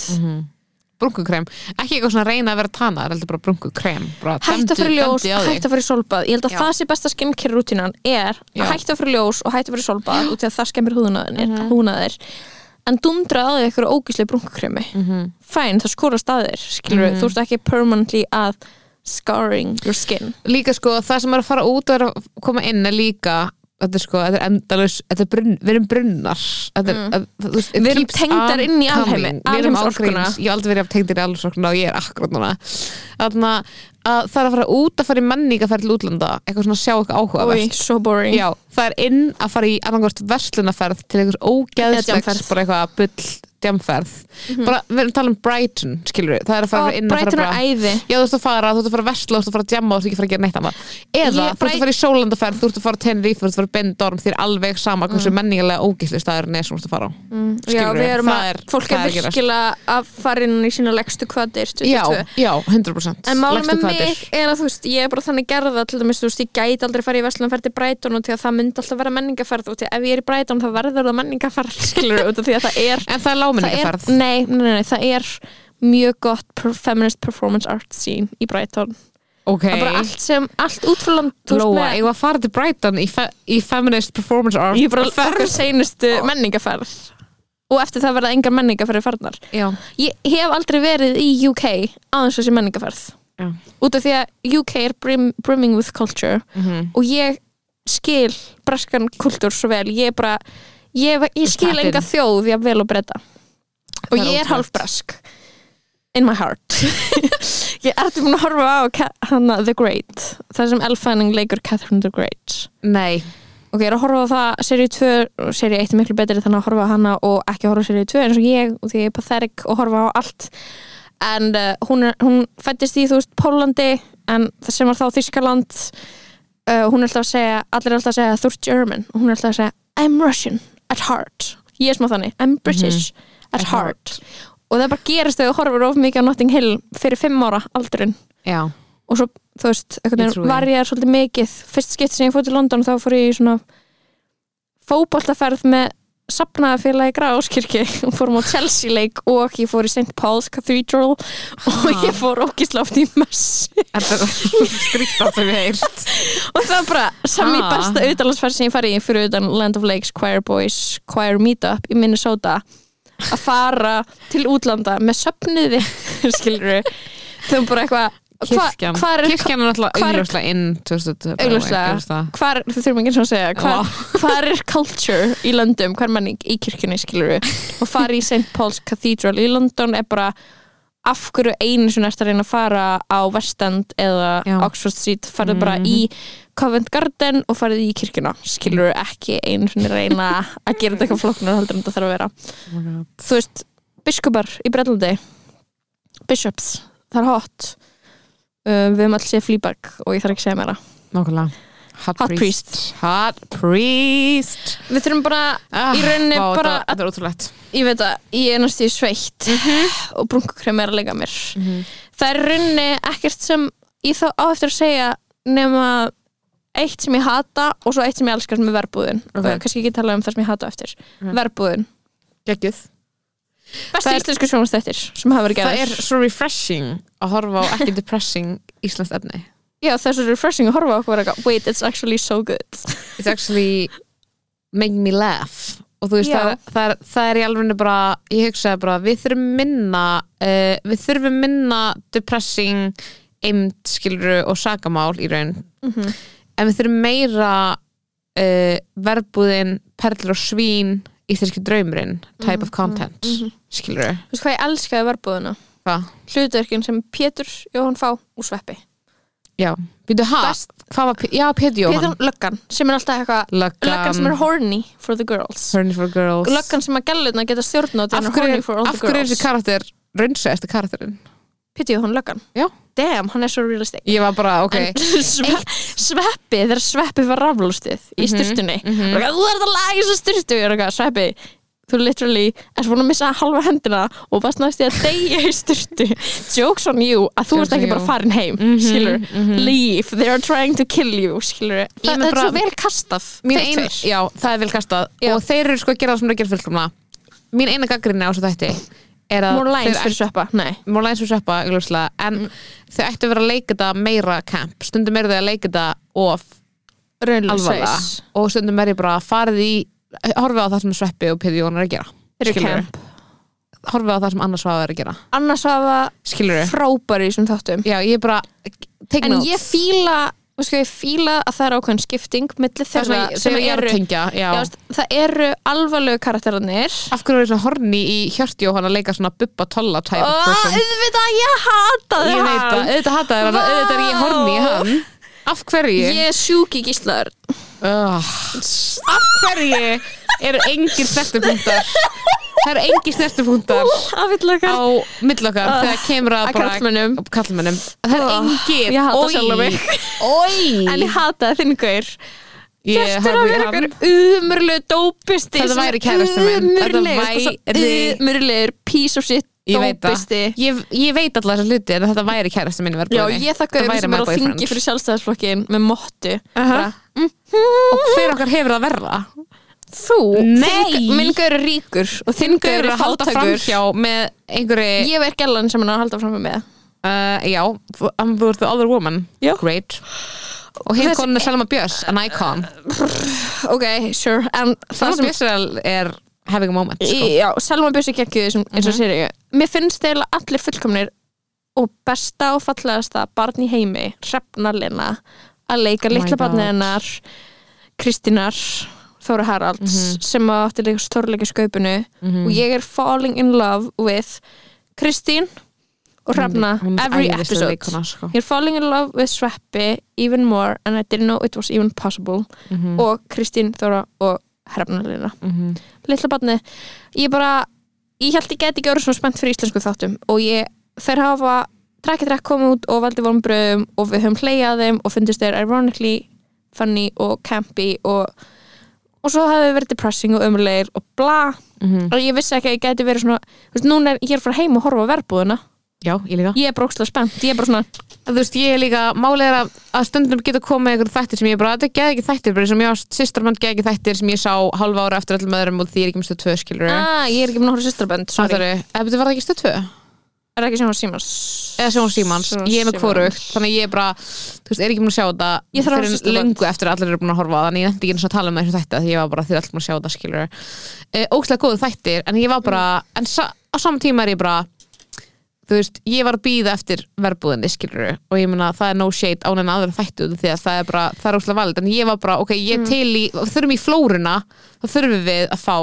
S4: brunkukrem, ekki eitthvað svona að reyna að vera tanar heldur bara brunkukrem bara
S3: hætt
S4: dembdu-
S3: að fara í ljós,
S4: dembdu á þig.
S3: hætt að fara í solbað ég held að
S4: Já.
S3: það sé besta skimkir rútinan er
S4: Já.
S3: að hætt að fara í ljós og hætt að fara í solbað út í að það skemmir húðnaðir
S4: Mm-hmm.
S3: mm -hmm. en dundra að þig eitthvað ógíslega brunkukremi
S4: Mhm.
S3: fæn, það skorast að þér skilur
S4: Mm-hmm.
S3: þú ert ekki permanently að scarring your skin
S4: líka sko það sem er að fara út og er að koma inn er líka þetta er sko, þetta er endalaus þetta er brunn, við erum brunnar þetta er, að, þú veist, it
S3: Mm. Við erum
S4: keeps
S3: tengdar
S4: on
S3: inn í alheimi,
S4: coming. Við erum
S3: alheimsorkuna.
S4: ágreins, ég hef aldrei verið tengdar í alheimsorkuna og ég er akkurat núna þannig að það er að fara út að fara í menning að fara til útlanda eitthvað svona að sjá eitthvað
S3: Oi,
S4: áhugavert
S3: so boring
S4: Já, það er inn að fara í annarkvæmst verslunaferð til einhvers
S3: Eða djamferð. Mhm.
S4: ógeðslegs bara eitthvað bull djamferð bara, við erum að tala um Brighton, skilur við það er að fara
S3: Ó,
S4: inn að fara
S3: Brighton er
S4: bara-
S3: æði.
S4: Já, þú ert að fara, þú ert að fara að versla, þú ert að fara að djamma, þú ert ekki að fara að gera neitt annað Eða,
S3: Ég
S4: þú ert
S3: Bright-
S4: að fara í sjólandaferð, þú ert að fara að tenni þú ert að fara að bendorm, þér er alveg sama hversu menningilega ógisli staðurinn er sem þú ert að fara á mm.
S3: Mhm. Já, við erum
S4: það
S3: að,
S4: er,
S3: fólk er
S4: það að gerast.
S3: virkilega að fara inn í sína leggstu kvadir
S4: Já, já, 100%
S3: En málum
S4: Lægstu
S3: með
S4: hvatir.
S3: mig er að þú veist, ég er bara þannig gerða til dæmis, þú veist, ég gæti aldrei farið í Vestlunarferð til Breitón og til að það myndi alltaf vera menningaferð og til að ef ég er í Breitón þá verður það menningaferð skilur út af því að það er,
S4: En það er
S3: það er
S4: láminningaferð
S3: nei, nei, nei, nei, það er mjög gott per, feminist performance art scene í Breitón
S4: Ok,
S3: það er bara allt sem, allt út frá land þú veist,
S4: Lóa,
S3: með-
S4: ég var að fara til Brighton í, fe í Feminist Performance Art
S3: ég er bara ferð seinustu menningaferð og eftir það verða engar menningaferði farnar
S4: Já,
S3: ég hef aldrei verið í UK aðeins þessi menningaferð
S4: já
S3: út af því að UK er brim, brimming with culture
S4: Mhm.
S3: og ég skil braskan kultúr svo vel ég er bara, ég, ég skil
S4: Tap in.
S3: enga þjóð ég vel og breyta og
S4: Það er
S3: ég er
S4: ótrúlegt.
S3: hálf brask in my heart ég ertu múin að horfa á Ka- hana The Great þar sem Elle Fanning leikur Catherine the Great
S4: Nei,
S3: ok, ég er að horfa á það seríu 2 og seríu 1 er miklu betri þannig að horfa á hana og ekki horfa á seríu 2 eins og ég og því ég er pathetic og horfa á allt en uh, hún, er, hún fættist í þú veist Pólandi en það sem var þá Þískaland uh, hún er alltaf að segja allir er alltaf að segja þú ert German og hún er alltaf að segja I'm Russian at heart ég er smá þannig, I'm British at,
S4: At
S3: heart. og það bara gerist þegar þú horfur of mikið á Notting Hill fyrir 5 ára aldurinn
S4: já
S3: og svo, þú veist,
S4: Ég
S3: einhvern
S4: trúi
S3: veginn var ég svolítið mikið, fyrst skipt sem ég fór til London þá fór ég í svona fótboltaferð með sapnaðafélagi Gráskirkju og fórum á Chelsea leik og ég fór í St. Paul's Cathedral og ég fór ógisláft í mess
S4: Þetta er skrýtt að þau heyrst
S3: og það var bara sami
S4: Ha.
S3: besta auðalansferð sem ég farið í fyrir utan Land of Lakes Choir Boys Choir Meetup í Minnesota að fara til útlanda með söpniði skilur þau bara eitthvað
S4: kirkjan
S3: hva er,
S4: kirkjan er náttúrulega
S3: hvar er-
S4: augljóslega inn 2022, by the way,
S3: Augljóslega.
S4: augljóslega.
S3: hvar, þau þurfum ekki eins og að segja hvar, hvar er culture í löndum hvar er menning í kirkjunni skilur við og fara í St. Paul's Cathedral í London er bara af hverju einu sem ert að reyna að fara á West End eða
S4: Já. Mhm.
S3: Oxford Street farið bara í Covent Garden og farið í kirkjuna skilur við ekki einu sem reyna að gera þetta eitthvað flokknar heldur en þetta þarf að vera
S4: Oh my god.
S3: þú veist, biskupar í Breitlandi bishops, það er hot uh, við höfum alls séð flýbak og ég þarf ekki að segja meira
S4: Nákvæmlega Hot,
S3: Hot
S4: Hot priest
S3: við þurfum bara,
S4: ah,
S3: Í rauninni
S4: vá,
S3: bara-
S4: þetta- Þetta er ótrúlegt
S3: ég veit að ég er næstu í sveitt og brunkukrem er að leika mér það er í rauninni ekkert sem ég þá á eftir að segja nema eitt sem ég hata og svo eitt sem ég elskar sem er verbúðin
S4: Ok.
S3: og kannski ekki tala um það sem ég hata á eftir
S4: Ok.
S3: verbúðin,
S4: Gekkið
S3: besti
S4: Það er-
S3: íslensku sjónastættir sem hafa verið
S4: Það er
S3: gerðir
S4: svo refreshing að horfa á ekki depressing íslenskt efni
S3: já það er svo refreshing að horfa á okkur og vera eitthvað, wait it's actually so good
S4: It's actually making me laugh og þú veist
S3: Já.
S4: það er, það, er, það er í alveg bara ég hugsaði bara við þurfum minna uh, við þurfum minna depressing eimt skiluru og sakamál í raun
S3: Mhm.
S4: en við þurfum meira uh, verbúðin perlur og svín íslenski draumurinn type
S3: Mhm,
S4: of content mm skiluru
S3: Þú veist hvað ég elskaði verbúðuna?
S4: hvað?
S3: Hlutverkin sem Pétur Jóhann Fá og Sveppi.
S4: Já, býtu ha?
S3: Best-
S4: Hvað var, P- já, Pétur Jóhann
S3: Pétur löggan sem er alltaf eitthvað löggan sem er
S4: Löggan,
S3: horny for the girls.
S4: Horny for Girls
S3: Löggan sem að gælutna geta stjórn á
S4: af
S3: þegar hún er horny for
S4: hverju,
S3: all
S4: af
S3: the
S4: hverju er
S3: girls.
S4: þessi karakter raunsaðasta karakterinn?
S3: Pétur Jóhann löggan.
S4: Já.
S3: Damn, hann er svo realistic.
S4: Ég var bara, ok
S3: En sve, sveppi, þegar sveppi var raflustið í styrtunni. Mm
S4: mhm.
S3: Þú ert að laga þessa styrtu. Ég er eitthvað, sveppi, þú literally ert búin að missa halva hendina og varst næst í að deyja í styrtu. Jokes on you að þú ert
S4: Jokes on
S3: ekki bara
S4: you.
S3: farin heim,
S4: Mhm,
S3: skilur.
S4: mhm.
S3: leave, they are trying to kill you skilur við,
S4: Ég
S3: það
S4: með
S3: er
S4: bara-
S3: svo vel kastað
S4: Mín
S3: þeir
S4: ein,
S3: tveir.
S4: já, það er vel kastað
S3: Já.
S4: og þeir eru sko að gera það sem eru að gera fullkomna Mín eina gaggrinni á þessu þætti er að
S3: more lines
S4: þeir-
S3: fyrir Mm. sveppa, nei
S4: More lines fyrir sveppa, augljóslega en þau ættu að vera að leika þetta meira camp stundum eru þau að leika þetta of alvarlega
S3: raunlega,
S4: og stundum er ég bara að farið í horfið á það sem sveppi og piði Jón er að gera
S3: þeir eru
S4: Skilurðu?
S3: camp
S4: horfið á það sem annars svafa er að gera
S3: annars hafa
S4: skilur þau?
S3: frábæri í þessum þáttum
S4: Já, ég er bara take
S3: en
S4: notes.
S3: ég fíla og sko, ég fíla að það er ákveðin skipting milli
S4: það sem
S3: þeirra sem
S4: ég, sem ég er
S3: eru
S4: að tengja já.
S3: já, veist, það eru alvarlegu karakterarnir
S4: af hverju er þessi horni í hjörti og hann að leika svona bubba tolla type of
S3: og
S4: person
S3: auðvitað ég hataði
S4: ég veit það,
S3: hann
S4: auðvitað hata þér hann
S3: Vá.
S4: auðvitað er ég horni í hann af hverju
S3: ég er sjúk í gíslaður
S4: Ugh. af hverju eru engir snertupunktar það eru engir snertupunktar á
S3: afillökar
S4: mill okkar
S3: Ugh.
S4: þegar kemur að
S3: Ah. Að
S4: bara
S3: karlmönnum.
S4: kallmennum það er
S3: Ugh.
S4: engir
S3: Ég hata
S4: Oj.
S3: sjálfa mig.
S4: Oj.
S3: en ég hataði þinn gaur
S4: Ég
S3: Gestur að
S4: horfði í
S3: vera
S4: hann.
S3: einhver umurlegu dópisti
S4: Þetta
S3: sem er
S4: væri kærastinn minn. Þetta
S3: ömurlegur, sko,
S4: væri-
S3: svo Umurlegur piece of shit
S4: Ég veit það,
S3: dópisti
S4: ég, ég veit alltaf þessar hluti en þetta væri kærasta minni
S3: Já, ég þakka um sem er á þingi fyrir sjálfstæðisflokkin með mottu Bara, Mm,
S4: Og hver okkar hefur það verra?
S3: Þú,
S4: Nei.
S3: þinn- minn gaur er ríkur og þinn gaur
S4: Gaur
S3: er
S4: að halda
S3: fátækur
S4: framhjá með einhverju
S3: Ég verð gælan sem hann er að halda fram með
S4: Uh, já, þú um, þú ert the other woman
S3: Já.
S4: Great Og hinn
S3: Þessi-
S4: konan er Selma Björs, an icon
S3: Ok, sure En það
S4: Selma
S3: sem
S4: Björs er, er having a moment sko.
S3: Já, Selma Bjössi gekkju þessum eins
S4: Mhm.
S3: og sér ég Mér finnst eiginlega allir fullkomnir og besta og fallegasta barn í heimi hrefnalina að leika
S4: Oh my
S3: litla
S4: God.
S3: barnið hennar Kristínar Þóra Haralds
S4: Mhm.
S3: sem að átti líka stórleika sköpunu og ég er falling in love with Kristín og Hrefna
S4: Hún er
S3: every
S4: æðisleg
S3: episode
S4: leikona, sko.
S3: Ég er falling in love with Sveppi even more and I didn't know it was even possible og Kristín Þóra og Hrefnalina
S4: Mhm.
S3: litla barni ég bara, ég held ég geti ekki orðið svona spennt fyrir íslensku þáttum og ég, þeir hafa trekki trekk komið út og valdi vonbröðum og við höfum hleyjað þeim og fundist þeir ironically funny og campy og, og svo hafi verið depressing og ömurlegir og bla
S4: Mhm.
S3: og ég vissi ekki að ég geti verið svona þú veist, núna er ég er frá heim og horfa á verbúðuna
S4: Já, ég líka
S3: ég er brókslega spennt, ég er bara svona
S4: Þú veist, ég er líka, málið er að, að stundum geta komið einhver þættir sem ég bara, þetta geði ekki þættir bara sem ég á sýstarmann geði ekki þættir sem ég sá halva ára eftir öllum öðrum og því ég er ekki mistu tvö skilur
S3: ah, ég er ekki með náttúrulega sýstrabönd, sorry
S4: Sorry, ef þetta var það ekki stöð tvö
S3: er það ekki sem hún símans
S4: eða Sjón Símans,
S3: Sjón
S4: ég er með
S3: Símans.
S4: hvorugt þannig að ég er bara, þú veist, er ekki búin að sjá þetta
S3: Ég þarf að
S4: fyrir
S3: hlusta á
S4: löngu eftir að allir eru búin að horfa á það, þannig ég nefndi ekki eins og að tala um það þessu þætti að ég var bara því allir búin að sjá þetta Eh, skilur uh, ókslega góðu þættir, en ég var bara en sa á saman tíma er ég bara þú veist, ég var að býða eftir verbúðinni, skilur og ég meina það er no shade án en aðra þættu því að það er bara, það er óslega valið en ég var bara, ok,
S3: Mm.
S4: ég til í, og þurfum í flóruna þá þurfum við að fá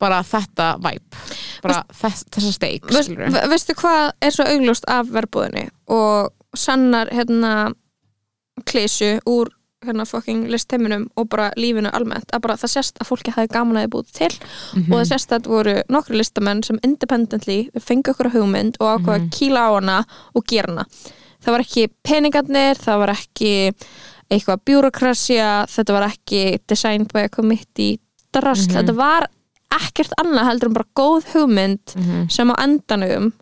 S4: bara þetta væp bara þess, þessa steik,
S3: Veist-
S4: skilur
S3: ve- veistu hvað er svo augljóst af verbúðinni og sannar hérna klísu úr hérna fucking listeiminum og bara lífinu almennt að bara það sést að fólki hafi gaman að þið búið til
S4: Mhm.
S3: og það sést að þetta voru nokkru listamenn sem independently fengi okkur hugmynd og ákvaða að kýla á hana og gera hana það var ekki peningarnir, það var ekki eitthvað bjúrokrasja þetta var ekki design by a committee drast, þetta var ekkert annað heldur en bara góð hugmynd
S4: Mhm.
S3: sem á endanum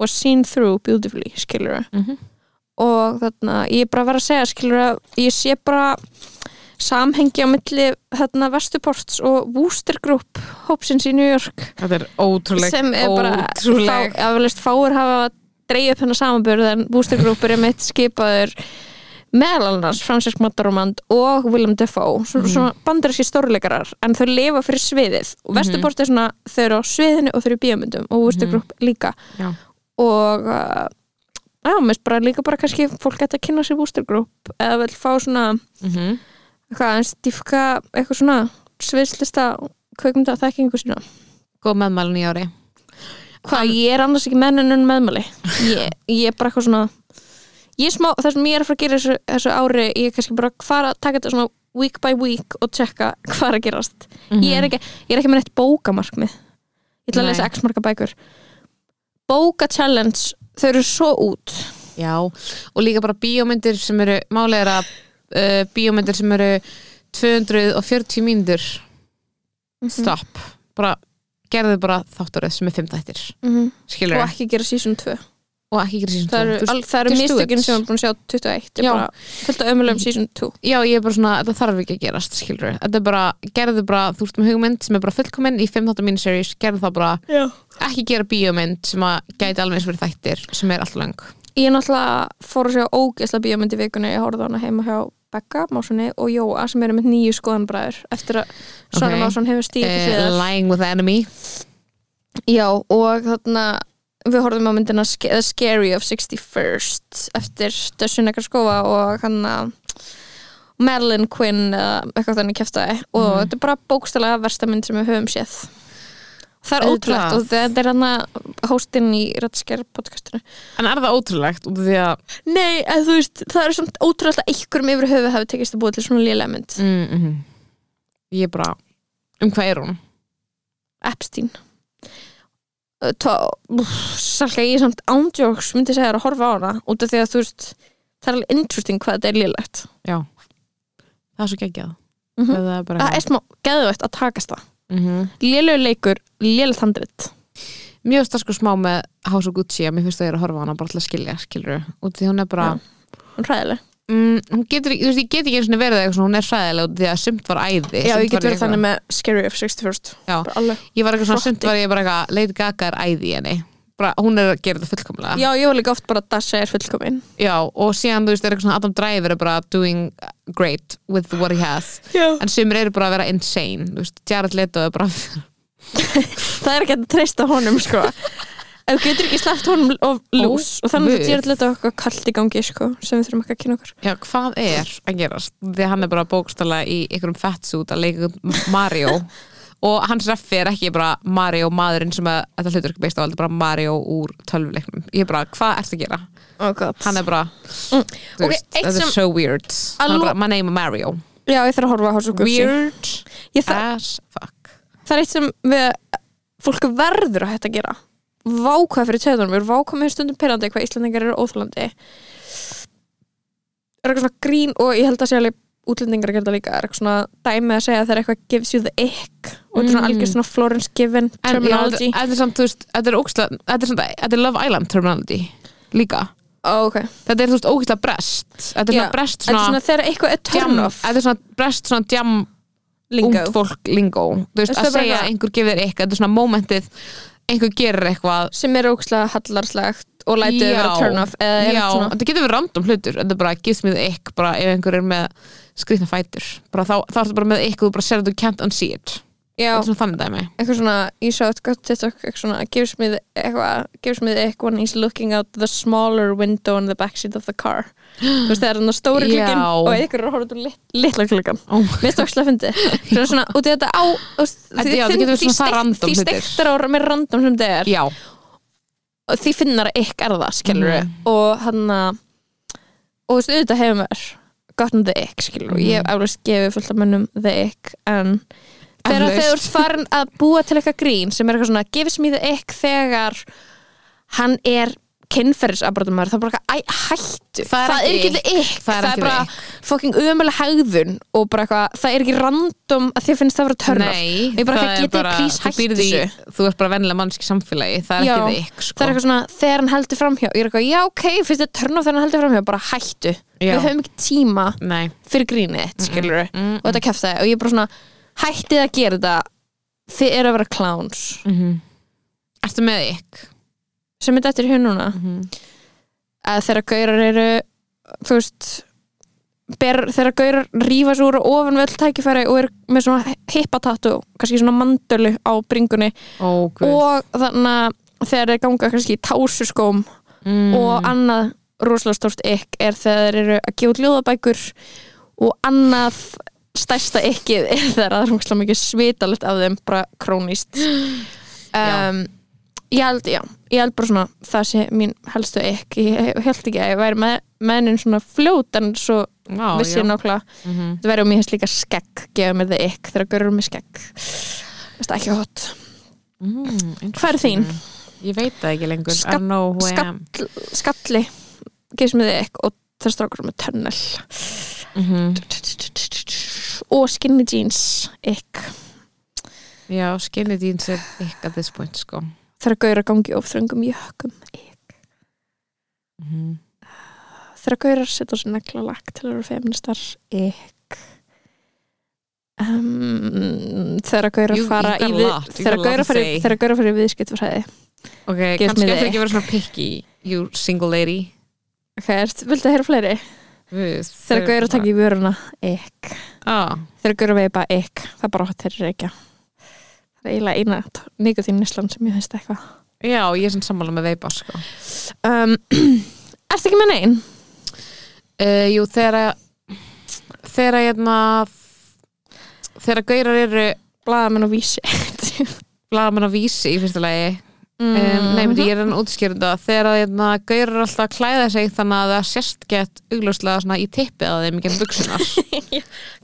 S3: was seen through beautifully, skilur
S4: Mhm.
S3: og þarna, ég er bara að vera að segja skilur ég sé bara samhengi á milli þarna Vesturports og Wooster Group hópsins í New York
S4: þetta er ótrúleg
S3: sem er bara
S4: ótrúleg
S3: fá, aflist, fáir hafa dreigð upp hennar samanbörð en Wooster Group er mitt skipaður meðal annars Francis Mataromand og Willem Dafoe svona,
S4: Mhm.
S3: svona bandaríski stórleikarar en þau lifa fyrir sviðið
S4: Mhm.
S3: og Vesturport er svona þau eru á sviðinu og þau eru í bíómyndum og Wooster Group
S4: Mhm.
S3: líka
S4: Já.
S3: og uh, já, mér finnst bara líka bara kannski fólk geta að kynna sér Booster Group eða vel fá svona
S4: Mhm.
S3: eitthvað aðeins dýfka eitthvað svona sviðslista kveikmynda þekkingu sína
S4: góð meðmælun í ári
S3: hvað, ég er annars ekki mennunum meðmæli ég, ég er bara eitthvað svona ég er smá, það sem ég er að fara að gera þessu, þessu ári ég er kannski bara að fara að taka þetta svona week by week og tjekka hvað er að gerast ég, er ekki, ég er ekki með neitt bókamarkmið ég ætla að
S4: Nei.
S3: lesa x marka bækur bóka challenge, þau eru svo út
S4: Já, og líka bara bíómyndir sem eru, málið er að uh, bíómyndir sem eru 240 mínútur Mhm. stopp, bara gerðu bara þáttaröð sem er 5 þættir
S3: Mhm.
S4: skilur
S3: og ekki gera season 2
S4: og ekki gera síðan
S3: það eru, al, það eru mistökin sem við erum búin að sjá 21 er
S4: Já.
S3: bara fullt af ömulegum season 2
S4: Já, ég er bara svona, þetta þarf ekki að gerast, skilur Þetta er bara, gerðu bara, þú ert með hugmynd sem er bara fullkomin í 5 þáttar miniseries, gerðu það bara
S3: Já.
S4: ekki gera bíómynd sem að gæti alveg eins verið þættir sem er alltaf lang
S3: ég náttúrulega fór að sjá ógeðsla bíómynd í vikunni, ég horfði á hana heima hjá Becca Másunni og Jóa sem eru með nýju skoðanbræður eftir að Sara
S4: Ok.
S3: Másun hefur stíð til
S4: uh,
S3: hliðar
S4: Lying with the enemy
S3: Já, og þarna við horfðum á myndina Sc- The Scary of 61st eftir Dössun ekkert skofa og hann að Madeline Quinn eða eitthvað þannig kæftæði og
S4: Mhm.
S3: þetta er bara bókstælega versta mynd sem við höfum séð Það er
S4: Auðvitað.
S3: ótrúlegt og þetta er hann að hóstinn í Rætskjær podcastinu
S4: En er það ótrúlegt út af því að
S3: Nei, en þú veist, það er samt ótrúlegt að einhverjum yfir höfu hafi tekist að búa til svona lélega mynd
S4: mm -hmm. ég er bara um hvað er hún
S3: Epstein Uh, tó- úff, Salka, ég er samt ándjóks myndi segja þér að horfa á hana út af því að þú veist það er alveg interesting hvað þetta er lélegt
S4: já það er svo geggjað
S3: Mhm.
S4: það er bara
S3: það er smá geðvægt að takast það
S4: Mhm.
S3: lélegur leikur, lélegt handrit
S4: mjög stað sko smá með House of Gucci að mér finnst að ég er að horfa á hana bara til að skilja skilur út af því hún er bara
S3: hræðileg
S4: mm, hún getur, ekki- þú veist, ég get ekki einu sinni verið eitthvað svona, hún er sæðilega út af því að sumt var æði
S3: Já,
S4: sumt
S3: ég get
S4: var
S3: verið þannig með Scary of 61st
S4: Já.
S3: Bara alveg.
S4: ég var eitthvað svona sumt
S3: Hrotti.
S4: var ég bara eitthvað Lady Gaga er æði í henni bara, hún er að gera þetta fullkomlega
S3: Já, ég var líka oft bara að Dasha er fullkomin
S4: Já, og síðan þú veist er eitthvað svona Adam Driver er bara doing great with what he has
S3: Já.
S4: en sumir eru bara að vera insane þú veist, Jared Leto er bara
S3: Það er ekki hægt að treysta honum, sko Ef þú getur ekki sleppt honum of lús og þannig
S4: guð.
S3: þetta er alltaf eitthvað kallt í gangi, sko sem við þurfum ekki að kynna okkur
S4: Já, hvað er að gerast? Því að hann er bara bókstala í einhverjum fettsút að leika einhvern Mario og hans reffi er ekki bara Mario maðurinn sem að, þetta hlutur ekki beist á heldur bara Mario úr tölvuleiknum ég er bara, hvað ert að gera?
S3: Oh god
S4: Hann er bara, þú
S3: Ok,
S4: veist,
S3: eitt
S4: þetta
S3: sem-
S4: er so weird Hann
S3: Að
S4: er
S3: lo-
S4: bara, my name is Mario
S3: Já, ég þarf að horfa á House of Gucci
S4: Weird Ah.
S3: Ég þarf,
S4: as fuck
S3: Það er eitt sem við, fólk verður að hætta að gera Vákvað fyrir tjóðunum, við erum vákvað með stundum pyrrandi hvað Íslandingar eru óþalandi Er eitthvað svona grín og ég held að sé alveg útlendingar að gera þetta líka er eitthvað svona dæmi að segja að það er eitthvað gives you the ick og þetta er svona
S4: Mm.
S3: algjör svona Florence Given
S4: En já, þetta
S3: terminology
S4: þetta er samt, þú veist, þetta er óksla þetta er, samt, þetta er Love Island terminology líka
S3: Ó, ok.
S4: Þetta er, þú veist, óksla brest Þetta er
S3: Já,
S4: svona brest
S3: Þetta er svona þegar eitthvað er turn
S4: Jam,
S3: off
S4: þetta er svona brest svona jam
S3: Lingo.
S4: ungt fólk lingó þú veist
S3: Veistu,
S4: að
S3: það er bara
S4: segja
S3: eitthvað-
S4: að einhver gefur eitthvað þetta er svona momentið einhver gerir eitthvað
S3: sem er ókslega hallarslegt og lætið
S4: Já.
S3: vera turn off eða er
S4: já,
S3: eitthvað svona
S4: þetta getur verið random hlutur þetta er bara gives me the ick bara ef einhver er með skrýtna fætur bara þá, þá ertu bara með ick og þú bara sér að þú can't unsee it
S3: já,
S4: Þetta er svona þannig dæmi
S3: eitthvað svona, ég sá eitthvað TikTok, eitthvað svona, gives me the, eitthvað, gives me the egg when he's looking out the smaller window in the backseat of the car þú veist, það er þannig stóri
S4: Já.
S3: klukkan og eitthvað er að horfa út um lit, litla klukkan
S4: oh.
S3: mér er stókslega fyndi svona svona, út í þetta á þú veist,
S4: Þetta-
S3: því
S4: já, þetta
S3: finn- því
S4: getur svona það
S3: steikt-
S4: random
S3: því
S4: hlutir.
S3: steiktar á með random sem þetta er
S4: Já,
S3: og því finnar að ykk er það skilur
S4: Mm.
S3: og hann að og þú veist, auðvitað hefur maður gotten the ick skilur mm. ég hef eflaust gefið fullt af mönnum the ick en þegar
S4: Eflaust.
S3: þau eru farin að búa til eitthvað grín sem er eitthvað svona gives me the ick þegar hann er kynferðisabrotumar það er bara eitthvað æ, hættu
S4: Það er
S3: er
S4: ekki
S3: ekki the ick
S4: Það er
S3: það
S4: ekki
S3: er
S4: the
S3: bara fucking umöðlega hegðun og bara eitthvað það er ekki random að þið finnst það að vera törn
S4: nei
S3: ég bara
S4: það
S3: ekki
S4: er
S3: getið please
S4: þú
S3: hættu
S4: býrð í-
S3: þessu
S4: Þú ert bara vennilega mannski samfélagi Það er
S3: Já,
S4: ekki þig sko.
S3: það er eitthvað svona, þegar hann heldur framhjá ég er eitthvað, já ok, finnst þið törn á þegar hann heldur framhjá bara hættu,
S4: Já.
S3: við höfum ekki tíma
S4: Nei,
S3: fyrir grínið þitt, skilur
S4: mm,
S3: og þetta kæfti og ég er bara svona, hættið að gera þetta þið eru að vera clowns
S4: Mhm. ertu með ykk?
S3: sem er dættir hér núna
S4: Mhm.
S3: að þeirra gaurar eru þú veist ber, þeirra gaurar rífa svo úr og ofan vel tækifæri og eru með svona hippatattu, kannski svona mandölu á bringunni
S4: Ó, guð.
S3: og þannig að þegar þeir ganga kannski í tásuskóm
S4: mm,
S3: og annað rosalega stórt ekk er þegar þeir eru að gefa út ljóðabækur og annað stærsta ekkið er þegar það er rosalega mikið svitalegt af þeim bara krónist um, ég held, já ég held bara svona það sé mín helstu ekk, ég held ekki að ég væri með mennin svona fljót en svo
S4: já,
S3: vissi ég
S4: já.
S3: nákvæmlega
S4: Mhm.
S3: þetta verður mér hefst líka skegg gefa mér það ekk þegar görur mér skegg þetta er ekki hot
S4: Mm,
S3: hvað er þín?
S4: Ég veit það ekki lengur
S3: Skatt-
S4: I know who I am
S3: skall, skalli gefst mér þið ekk og það er strákur með tönnel
S4: Mhm.
S3: og skinny jeans ekk
S4: Já, skinny jeans er ykk at this point sko.
S3: þegar gauður að gangi of þröngum jökum ekk
S4: Mhm.
S3: þegar gauður að setja á sér negla lakk til að vera feministar ekk um, þegar gauður
S4: You-
S3: að fara
S4: you
S3: í
S4: got a
S3: við,
S4: lot, you got a
S3: þegar
S4: lot
S3: gauður
S4: to
S3: að fara
S4: say.
S3: í- þegar gauður að fara í viðskiptfræði
S4: Ok,
S3: Gefst
S4: kannski
S3: mér
S4: eftir
S3: þig.
S4: ekki að vera svona picky You single lady
S3: ok, ert- viltu að heyra fleiri? þegar gauður að taka í vöruna ekk
S4: ah,
S3: þegar gauður veipa ekk, það er bara hot þeirri reykja það er eiginlega eina nikotín nýslan sem ég finnst eitthvað
S4: Já, ég er sem sammála með veipa sko.
S3: um, ertu ekki með neinn?
S4: uh, Jú, þegar þegar hérna þegar gaurar eru
S3: blaðamenn og vísi
S4: blaðamenn á vísi í fyrsta lagi um, Nei, myndi, ég er enn útskjörunda þegar að, hérna, gaurar eru alltaf að klæða sig þannig að það sérst gett augljóslega svona í tippið að þeim í genn buksunar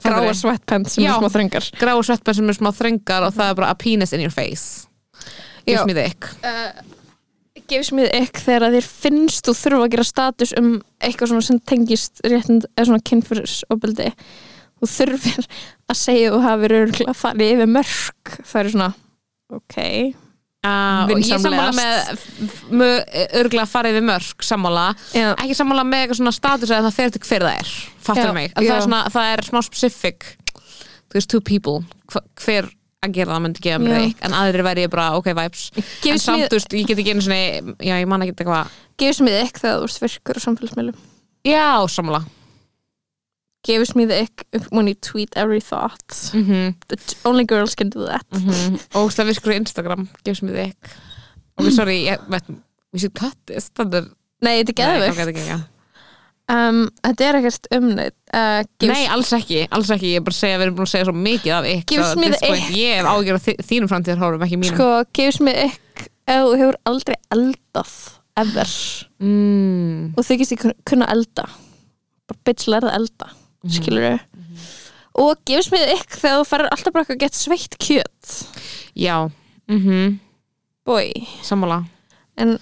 S3: gráa sweatpants sem
S4: Já.
S3: er smá þröngar
S4: grá og sveppar sem er smá þröngar og það er bara a penis in your face Gives
S3: Já.
S4: me the ick
S3: gefis Uh, mér ekk þegar að þér finnst þú þurfa að gera status um eitthvað svona sem tengist réttind eða svona kynfyrirsopildi þú þurfir að segja og hafi raunlega farið yfir mörg það er svona, ok
S4: Uh, og ég er sammála
S3: Vinsamlegast.
S4: með örgulega farið við mörg sammála,
S3: Já.
S4: ekki sammála með eitthvað svona status að það fer til hver það er fattur
S3: Já,
S4: mig, að það er,
S3: já.
S4: svona, það er smá specific þú veist, two people hva- hver að gera það myndi gefa mér
S3: Já.
S4: það ekki en aðrir væri ég bara, ok, vibes
S3: Gefist
S4: en samt,
S3: mér-
S4: þú veist, ég get ekki einu svona já, ég man ekki eitthvað,
S3: gefis mér ekk þegar þú ert virkur á samfélagsmiðlum
S4: já, sammála
S3: gives me the ick when you tweet every thought.
S4: mm -hmm.
S3: The only girls can do that.
S4: mm og það virkur á Instagram, gefst mér þig ok, sorry, ég veit we should cut this, það er
S3: Nei, þetta er
S4: Nei,
S3: geðvögt.
S4: ok, þetta er geggjað.
S3: Um, þetta er ekkert umneitt. Uh, gives,
S4: Nei, alls ekki, alls ekki, ég er bara að segja við erum búin að segja svo mikið af ykk
S3: Gefst
S4: so at
S3: mér
S4: this
S3: the
S4: point, Ég hef ágjör að þínum framtíðarhórum, ekki mínum
S3: Sko, gives me ick ef þú hefur aldrei eldað ever
S4: mm,
S3: og þykist ekki kunna elda. Bara bitch lærða elda,
S4: mm. Mhm.
S3: skilur þau. Og gives me ick þegar þú farir alltaf bara eitthvað að geta sveitt kjöt.
S4: Já, mm
S3: Mhm.
S4: -hmm,
S3: Boy.
S4: sammála
S3: En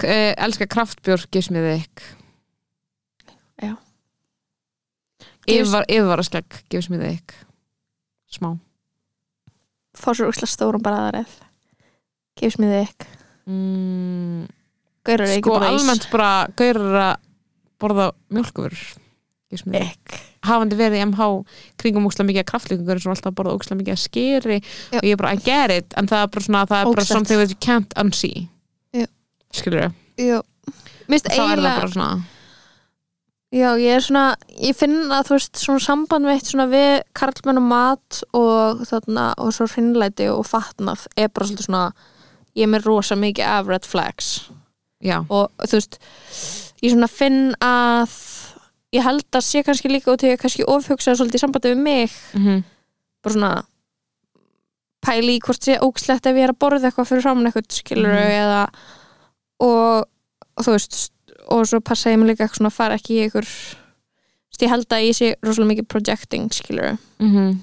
S4: K- eh, Elska kraftbjörg, gefst mér þig ykk
S3: Já. Gefst-
S4: Yfirvar, Yfirvara skegg, gefst mér þig ykk Smá
S3: fá sér úrslega stórum bara aðareð. Gives me ick.
S4: mm,
S3: Gaurur er
S4: Sko,
S3: ekki bara ís.
S4: almennt bara gaurar að borða mjölkuvur gefst mér þig
S3: Ick.
S4: hafandi verið í MH kringum ókslega mikið kraftlíkungur sem alltaf borða ókslega mikið að skeri og ég er bara I get it en það er bara svona það er bara
S3: Ógeðslegt.
S4: something that you can't unsee
S3: Já.
S4: skilur þau
S3: Jú. Mér finnst
S4: þá er það
S3: eiginlega
S4: bara svona
S3: Já, ég er svona, ég finn að þú veist svona samband mitt svona við karlmenn og mat og þarna og svo hreinlæti og fatnað er bara svolítið svona, ég er með rosa mikið af red flags
S4: já,
S3: og þú veist, ég svona finn að ég held að sé kannski líka út í að ég kannski ofhugsaði svolítið í sambandi við mig
S4: mm
S3: bara svona pæli í hvort sé ógslegt ef ég er að borða eitthvað fyrir framan eitthvað skilur eða og þú veist og svo passa ég mig líka eitthvað svona að fara ekki í einhver þú veist, ég held að ég sé rosalega mikið projecting skilur
S4: mhm.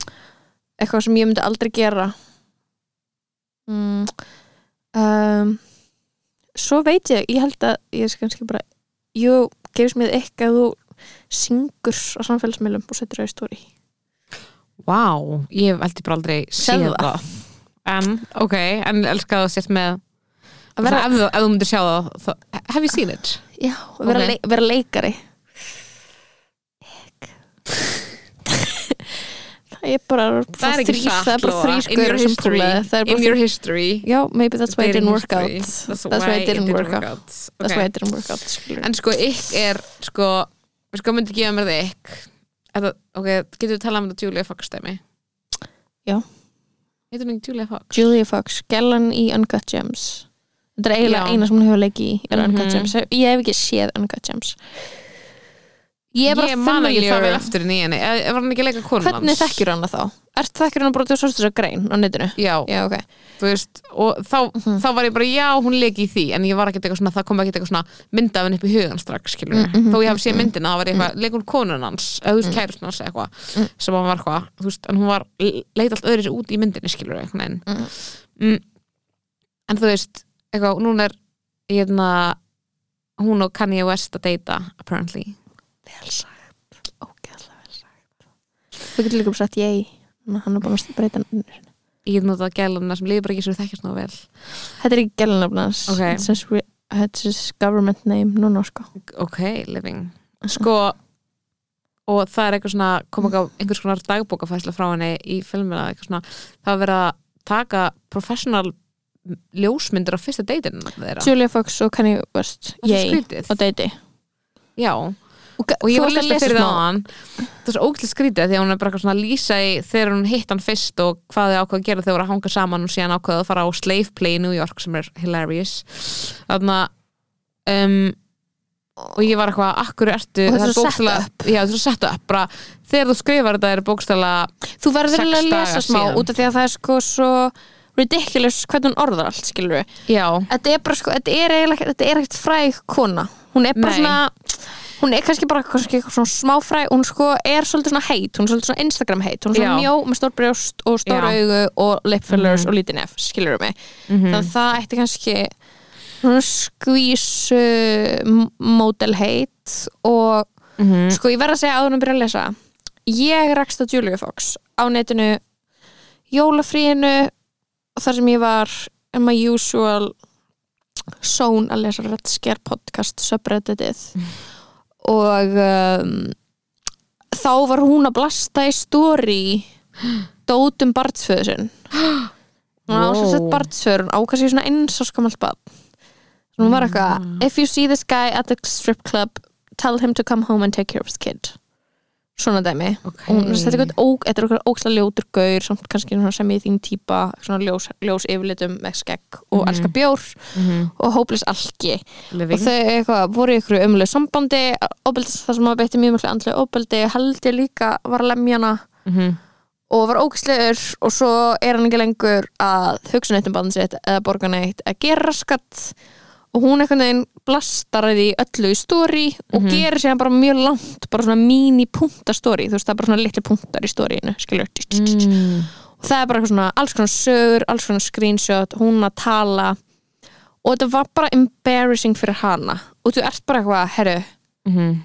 S3: eitthvað sem ég myndi aldrei gera mm. um, svo veit ég ég held að ég er kannski bara jú, gefst mér eitthvað að þú syngur á samfélagsmiðlum og setur það í stóri
S4: Vá, ég hef aldrei bara aldrei séð
S3: Sérðu það?
S4: það En, ok, en elska það sért með
S3: Að vera-
S4: ef, þú- ef þú myndir sjá það þá, Have you seen it?
S3: Já, vera,
S4: Ok.
S3: okay. vera leikari Það er bara
S4: Það er ekki
S3: þrír-
S4: satt,
S3: Það er bara
S4: Lóa.
S3: þrý
S4: In your
S3: skoður sem
S4: history,
S3: púlaði Það er
S4: In
S3: bara
S4: your
S3: þrír
S4: history
S3: Já, maybe that's why it didn't work out
S4: history.
S3: That's why it didn't work out That's
S4: Ok.
S3: why it didn't work out skilur.
S4: En sko, ykk er sko, við sko myndi gefa mér það ykk Þetta, ok, getur við talað um þetta Julia Fox dæmi?
S3: Já.
S4: Heitir hún ekki Julia Fox?
S3: Julia Fox, gellan í Uncut Gems Þetta er eiginlega
S4: Já.
S3: eina sem hún hefur leikið í er Uncut
S4: Mhm.
S3: Gems Ég hef ekki séð Uncut Gems Ég er bara
S4: ég man ekki það vel
S3: familiar
S4: eftir henni í henni Eh, Var hann ekki að leika konan
S3: Hvernig
S4: hans?
S3: þekkjur hana þá? Ert þekkjur hana bara til að svo styrsa grein á netinu?
S4: Já,
S3: Já, ok
S4: þú veist, og þá, þá var ég bara já, hún leik í því, en ég var ekki eitthvað svona það kom ekki eitthvað svona mynda af henni upp í hugan strax skilur, þó ég hafi séð myndina, það var eitthvað leik hún konun hans, eða þú veist kærust hans eða eitthvað, sem hann var eitthvað, þú veist, en hún var leit allt öðru út í myndinni skilur eitthvað en, mm. en þú veist, eitthvað, núna er hérna hún og Kanye West að deyta apparently,
S3: Vel sagt, ógeðlega vel sagt Þú getur líka bara sagt yay Þannig að hann er bara að breyta nafninu sínu.
S4: ég get notað gæluna sem líður bara ekki sem þekkjast ná vel
S3: Þetta er ekki gælunafnans
S4: Ok.
S3: Þetta er government name núna sko
S4: ok, living sko og það er eitthvað svona, kom ekki á einhvers konar dagbókafæsla frá henni í filmina eitthvað svona, það var verið að taka professional ljósmyndir á fyrsta deytinu þeirra
S3: Julia Fox og Kanye West
S4: Það er svo
S3: Yay
S4: skrítið.
S3: og deiti
S4: Já, og ég var að lesa fyrir það hann Það er svo ógæslega skrítið af því að hún er bara eitthvað svona að lýsa í þegar hún hitt hann fyrst og hvað þið ákvað að gera þegar voru að hanga saman og síðan ákvað að fara á slave play í New York sem er hilarious Þannig að um, og ég var eitthvað, akkur ertu
S3: Og þetta er
S4: það
S3: svo sett
S4: bókstaflega- Já, þetta er sett upp bara, þegar þú skrifar þetta er bókstæðlega
S3: Þú verður
S4: Sex
S3: verður að
S4: daga
S3: lesa smá
S4: síðan.
S3: út af því að það er sko svo ridiculous hvernig hún orðar allt skilur við
S4: Já,
S3: Þetta er bara sko, þetta er eiginlega þetta er ekkert fræg kona hún er bara
S4: Nei.
S3: svona hún er kannski bara kannski eitthvað svona smá fræ hún sko er svolítið svona heit, hún er svolítið svona Instagram heit hún er svona
S4: Já.
S3: mjó með stór brjóst og stór
S4: Já. Mhm.
S3: augu og lip fillers og lítið nef skilur við mig, þannig að það ætti kannski svona skvísu módel heit og
S4: Mhm, Mm.
S3: sko ég verð að segja áður en að byrja að lesa ég rakst á Julia Fox á netinu jólafríinu þar sem ég var in my usual són að lesa Red Scare podcast subredditið
S4: Mm.
S3: og um, þá var hún að blasta í story dótum barnsföðusinn hún á sem sett
S4: Wow.
S3: barnsföðurinn á kannski svona eins og skamalt bad hún
S4: Mm.
S3: var eitthvað if you see this guy at the strip club tell him to come home and take care of his kid svona dæmi
S4: ok
S3: og hún þetta er eitthvað óg, þetta er eitthvað óksla ljótur gaur samt kannski svona sem í þín típa svona ljós, ljós yfirlitum með skegg og
S4: Mhm.
S3: elska bjór
S4: Mhm.
S3: og hóplis alki og
S4: Living
S3: þau eitthvað, voru í ykkur umlega sambandi óbeldi, það sem maður beitti mjög mjög andlega óbeldi held ég líka var að lemja hana
S4: Mhm.
S3: og var ógislegur og svo er hann ekki lengur að hugsa neitt um bann sitt eða borga neitt að gera skatt og hún einhvern veginn blastar því öllu í stóri og gerir sér bara mjög langt bara svona mini punta stóri þú veist það er bara svona litli puntar í stórinu skilur
S4: Mm.
S3: og það er bara eitthvað svona alls konar sögur, alls konar screenshot hún að tala og þetta var bara embarrassing fyrir hana og þú ert bara eitthvað, herru
S4: Mhm.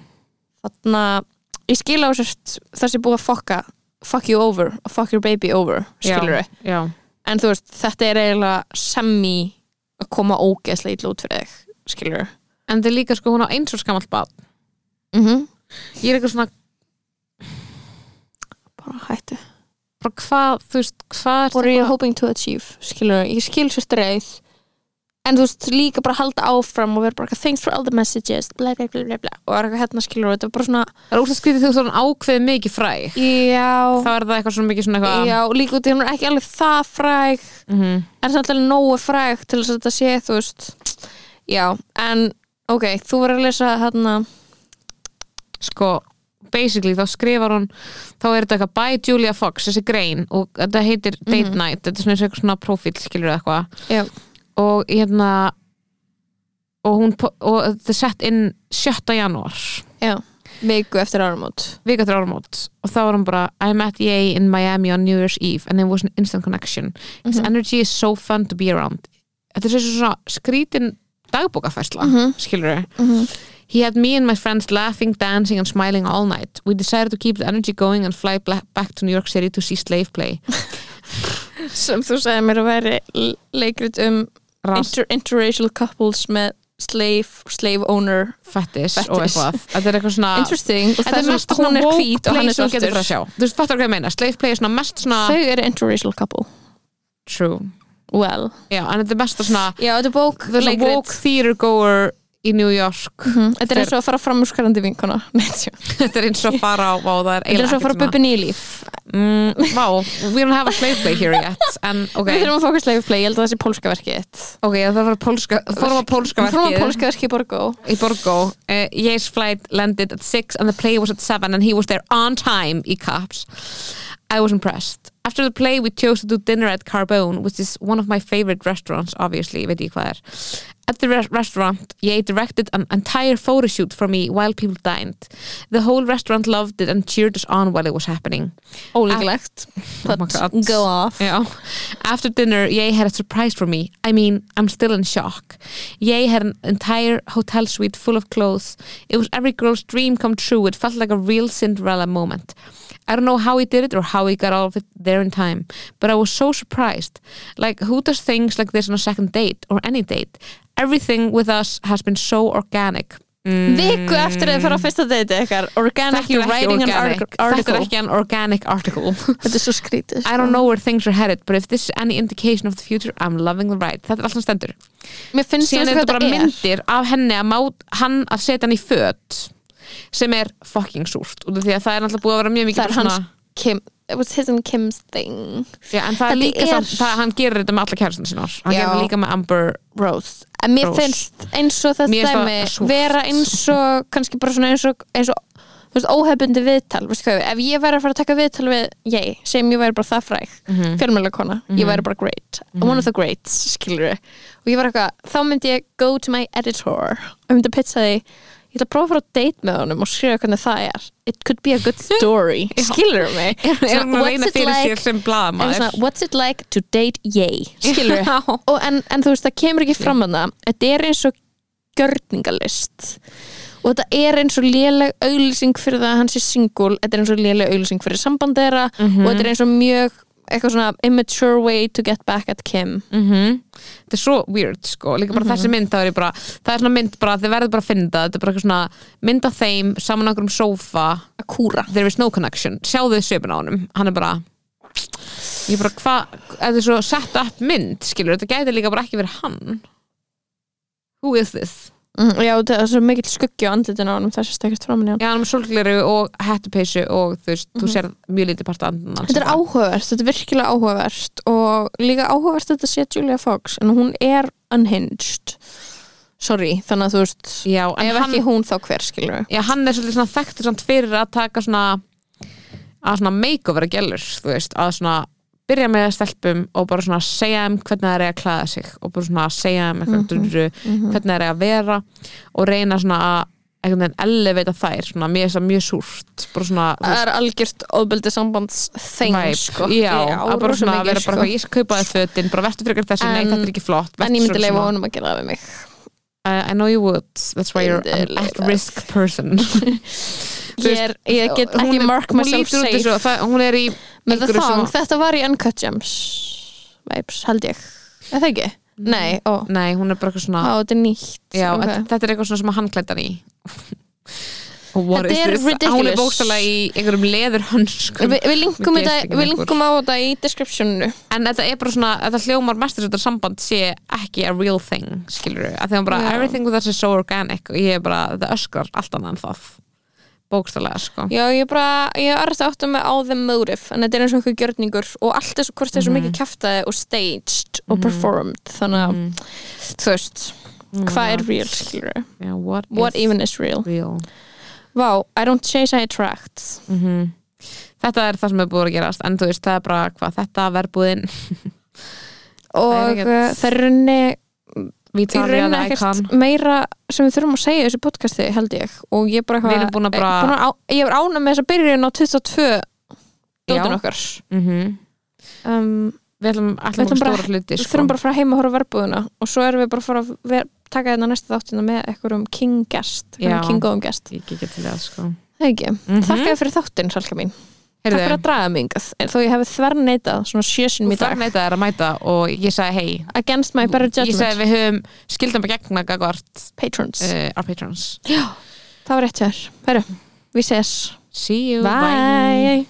S3: þannig að ég skil á sérst það sé búið að fokka fuck you over og fuck your baby over skilur við,
S4: Já,
S3: en þú veist þetta er eiginlega semi að koma ógeðslega ítla út fyrir þig skilur við
S4: en þetta er líka sko hún á eins og skamalt bad
S3: Mhm.
S4: ég er eitthvað svona,
S3: bara hættu
S4: bara hvað þú veist, hvað
S3: what are
S4: ertu
S3: you
S4: eitthvað-
S3: hoping to achieve skilur við, ég skil sérst reið en þú veist líka bara halda áfram og vera bara eitthvað, thanks for all the messages bla bla bla bla bla og er eitthvað hérna skilur og þetta er bara svona
S4: Það er úrst að skrítið þú svona ákveðið mikið fræ
S3: já,
S4: Þá er það eitthvað svona mikið svona eitthvað
S3: já, líka út í hún er ekki alveg það fræg
S4: Mhm.
S3: en samt alveg nógu fræg til þess að þetta sé þú veist já, en ok, þú verður að lesa hérna
S4: sko basically þá skrifar hún þá er þetta eitthvað by Julia Fox þessi grein og þetta heitir Date Night þetta er svona eins og eitthvað svona profil skilur eða eitthvað
S3: já,
S4: og hérna og hún po- og þetta er sett inn 7. janúar
S3: já, viku eftir áramót
S4: vika til áramót og þá var hún bara I met Ye in Miami on New Year's Eve and it was an instant connection his
S3: Mhm.
S4: energy is so fun to be around þetta er svo svona skrítin dagbókafærsla
S3: Mhm.
S4: skilur þau He had me and my friends laughing, dancing and smiling all night. We decided to keep the energy going and fly bla- back to New York City to see slave play.
S3: sem þú sagði mér að væri l- leikrit um
S4: Rast,
S3: inter interracial couples með slave, slave owner
S4: fettis og
S3: Fetish.
S4: eitthvað. Þetta er eitthvað svona...
S3: interesting og
S4: Þetta er
S3: það
S4: mest
S3: sem hún
S4: svona
S3: Ah. er
S4: woke
S3: hvít og hann er
S4: place sem þú getur
S3: svartur
S4: frá að sjá. Þú veist, fattar hvað ég meina? Slave play er svona mest svona...
S3: þau eru interracial couple
S4: True.
S3: well
S4: Já, en þetta er mest svona...
S3: já, þetta er bók,
S4: Það er svona woke theater goer í New York.
S3: þetta er eins og að fara framúrskarandi vinkona Nei, tjó.
S4: þetta er eins og að fara á... Vá, það
S3: þetta er
S4: er
S3: eins
S4: eiginlega
S3: og að fara
S4: ekkert svona...
S3: bubbi nýlíf
S4: Mm, Vá, we don't have a slave play here yet. En, ok.
S3: við þurfum að fóka slave play, ég held að það sé pólska verkið þitt.
S4: Ok, það var pólska... Fórum að pólska
S3: Við fórum að
S4: verkið.
S3: pólska verkið í Borgó
S4: í Borgó uh, Ye's flight landed at 6 and the play was at 7 and he was there on time í Caps I was impressed After the play we chose to do dinner at Carbone which is one of my favorite restaurants obviously, veit ég hvað er At the re restaurant, Ye directed an entire photo shoot for me while people dined. The whole restaurant loved it and cheered us on while it was happening.
S3: ólíklegt,
S4: Oh my God.
S3: but go off
S4: Já. After dinner, Ye had a surprise for me. I mean, I'm still in shock. Ye had an entire hotel suite full of clothes. It was every girl's dream come true. It felt like a real Cinderella moment. I don't know how he did it or how he got all of it there in time, but I was so surprised. Like, who does things like this on a second date or any date? Everything with us has been so organic.
S3: viku eftir að þið fara á fyrsta date ykkar organic,
S4: Mm. Þetta er
S3: you're
S4: ekki
S3: writing an
S4: organic.
S3: artic-
S4: Þetta
S3: article
S4: er ekki an organic article.
S3: þetta er svo skrítið sko.
S4: I don't know where things are headed but if this is any indication of the future I'm loving the ride þetta er alltaf stendur
S3: mér finnst þú
S4: síðan
S3: veist
S4: er þetta
S3: hvað
S4: bara
S3: þetta er
S4: myndir af henni að mát, hann að setja hann í föt sem er fucking súrt út af því að það er alltaf búið að vera mjög mikið
S3: það er
S4: bara
S3: hans Kim, it was his and Kim's thing
S4: já, en það
S3: Þetta
S4: er líka
S3: er-
S4: er... það hann gerir þetta með alla kærastan sinar hann
S3: Já.
S4: gerir það líka með Amber
S3: Rose en mér
S4: Rose.
S3: finnst eins og það
S4: Mér finnst það
S3: stæmi
S4: súrt.
S3: vera eins og kannski bara svona eins og, eins og þú veist, óhefbundi viðtal veistu hvað, ef ég væri að fara að taka viðtal við ég, sem ég væri bara það fræg mm
S4: Mhm.
S3: kona, ég væri bara great one of the greats, skilur við og ég var eitthvað, þá myndi ég go to my editor og myndi pitcha því ég ætla að prófa að fara að date með honum og skrifa hvernig það er it could be a good story, skilur við mig
S4: er hann að
S3: What's
S4: reyna
S3: it
S4: fyrir
S3: like-
S4: sér sem
S3: En
S4: blaðamaður
S3: svona, what's it like to date yay skilur
S4: Já.
S3: við og en, en þú veist það kemur ekki fram að það þetta er eins og gjörningalist og þetta er eins og léleg auglýsing fyrir það að hann sé single þetta er eins og léleg auglýsing fyrir samband þeirra og þetta er eins og mjög eitthvað svona immature way to get back at Kim
S4: Mhm. þetta er svo weird sko líka bara
S3: Mhm.
S4: þessi mynd þá er ég bara það er svona mynd bara þið verður bara að finna það þetta er bara eitthvað svona mynd af þeim saman á einhverjum sófa
S3: að kúra
S4: there is no connection sjáðu þið svipin á honum hann er bara ég bara hvað, þetta er svo sett upp mynd skilur, þetta gæti líka bara ekki verið hann who is this
S3: já þetta er svo mikill skuggi á andlitinu á hann það sést ekkert framan í hann
S4: Mhm. já, hann er með solgleru og hættupeysu og þú veist, þú sér mjög lítið part andan
S3: Mhm. Þetta er áhugavert, þetta er virkilega áhugavert og líka áhugavert að þetta sé Julia Fox en hún er unhinged sorry, þannig að þú veist
S4: já, en
S3: ef
S4: hann,
S3: ekki hún þá hver skilur við
S4: já, hann er svolítið svona þekktur samt fyrir að taka svona að svona makeover að gælur þú veist, að svona byrja með stelpum og bara svona segja þeim hvernig það er að klæða sig og bara svona segja þeim
S3: Mhm,
S4: eitthvað drurru, hvernig það er að vera og reyna svona að einhvern veginn elevita þær, svona mér er það mjög súrt bara svona, þú
S3: það er algjört ofbeldi sambands þeng
S4: væp.
S3: sko
S4: já, að bara
S3: rosa
S4: svona að
S3: mikið,
S4: vera bara
S3: sko.
S4: eitthvað, ég skal kaupa þið fötin bara vertu fyrir þessu, nei
S3: En-
S4: þetta er ekki flott vertu
S3: en ég myndi
S4: svona-
S3: leifa honum að gera það við mig
S4: Uh, I know you would, that's why
S3: Ég
S4: you're
S3: myndi
S4: an
S3: leyfa það.
S4: at-risk person
S3: ég, er, ég get
S4: Hún
S3: ekki
S4: er-
S3: mark
S4: hún
S3: myself
S4: lítur út eins
S3: safe
S4: og- það- hún er í
S3: með það
S4: einhverju sem-
S3: þang, þetta var í Uncut Gems vibes, held ég er það
S4: Mm.
S3: ekki? nei, ó,
S4: nei, hún er bara eitthvað svona
S3: á, þetta er nýtt
S4: Já,
S3: ok.
S4: okay. þetta er eitthvað svona sem hann klæddan í What
S3: Þetta
S4: is
S3: er
S4: this?
S3: ridiculous.
S4: Hún er bókstælega í einhverjum leður
S3: Vi, við, linkum
S4: Ég gerist
S3: þetta,
S4: ekki
S3: við
S4: lengur.
S3: linkum á þetta í descriptionu
S4: en þetta er bara svona, þetta hljómar mestur þetta samband sé ekki a real thing skilur við, að því hann bara,
S3: Já.
S4: everything with us is so organic og ég er bara, þetta öskrar allt annað en það bókstælega sko
S3: Já, ég bara, ég er þetta áttum með á the motive en þetta er eins og einhver gjörningur og allt þessu hvort
S4: Mhm.
S3: þessu mm mikið kæftaði og staged og performed, þannig að
S4: Mhm.
S3: þú veist,
S4: Mm,
S3: hvað er real skilur við?
S4: yeah, what,
S3: What
S4: is
S3: even is real?
S4: real
S3: Vá, I don't chase, I attract
S4: Mm. þetta er það sem er búið að gerast, en þú veist, það er bara hvað þetta verbúðin,
S3: og
S4: ekkert-
S3: uh, það er runni í
S4: Vitalia
S3: rauninni
S4: the Icon
S3: ekkert meira sem við þurfum að segja í þessu podcasti held ég og ég er bara
S4: Við erum búin að
S3: eh,
S4: bara-
S3: búin á- ég er ánað með þess að byrjun á 22 dóttin okkar
S4: mm
S3: um,
S4: við ætlum
S3: Við
S4: alltaf
S3: ætlum
S4: mjög
S3: bara-
S4: stóra hluti
S3: við
S4: sko.
S3: þurfum bara að fara heim að horfa á verbúðuna og svo erum við bara að fara að ver, taka þetta næsta þáttina með einhverjum king guest
S4: Já.
S3: einhverjum king góðum guest
S4: ég gekk til það sko
S3: Það ekki,
S4: Mhm.
S3: þakka þér fyrir þáttin Salka mín, takk fyrir
S4: Heyrðu,
S3: að draga mig hingað En þó ég hefði þvern neitað svona sjösin
S4: þú
S3: í dag
S4: þarneitað er að mæta og ég sagði hei
S3: against my better
S4: ég
S3: judgment
S4: sagði við höfum skildum að gegna gagvart
S3: patrons,
S4: uh, our patrons
S3: það var rétt hjá þér Heru, við sés
S4: See you.
S3: Bye.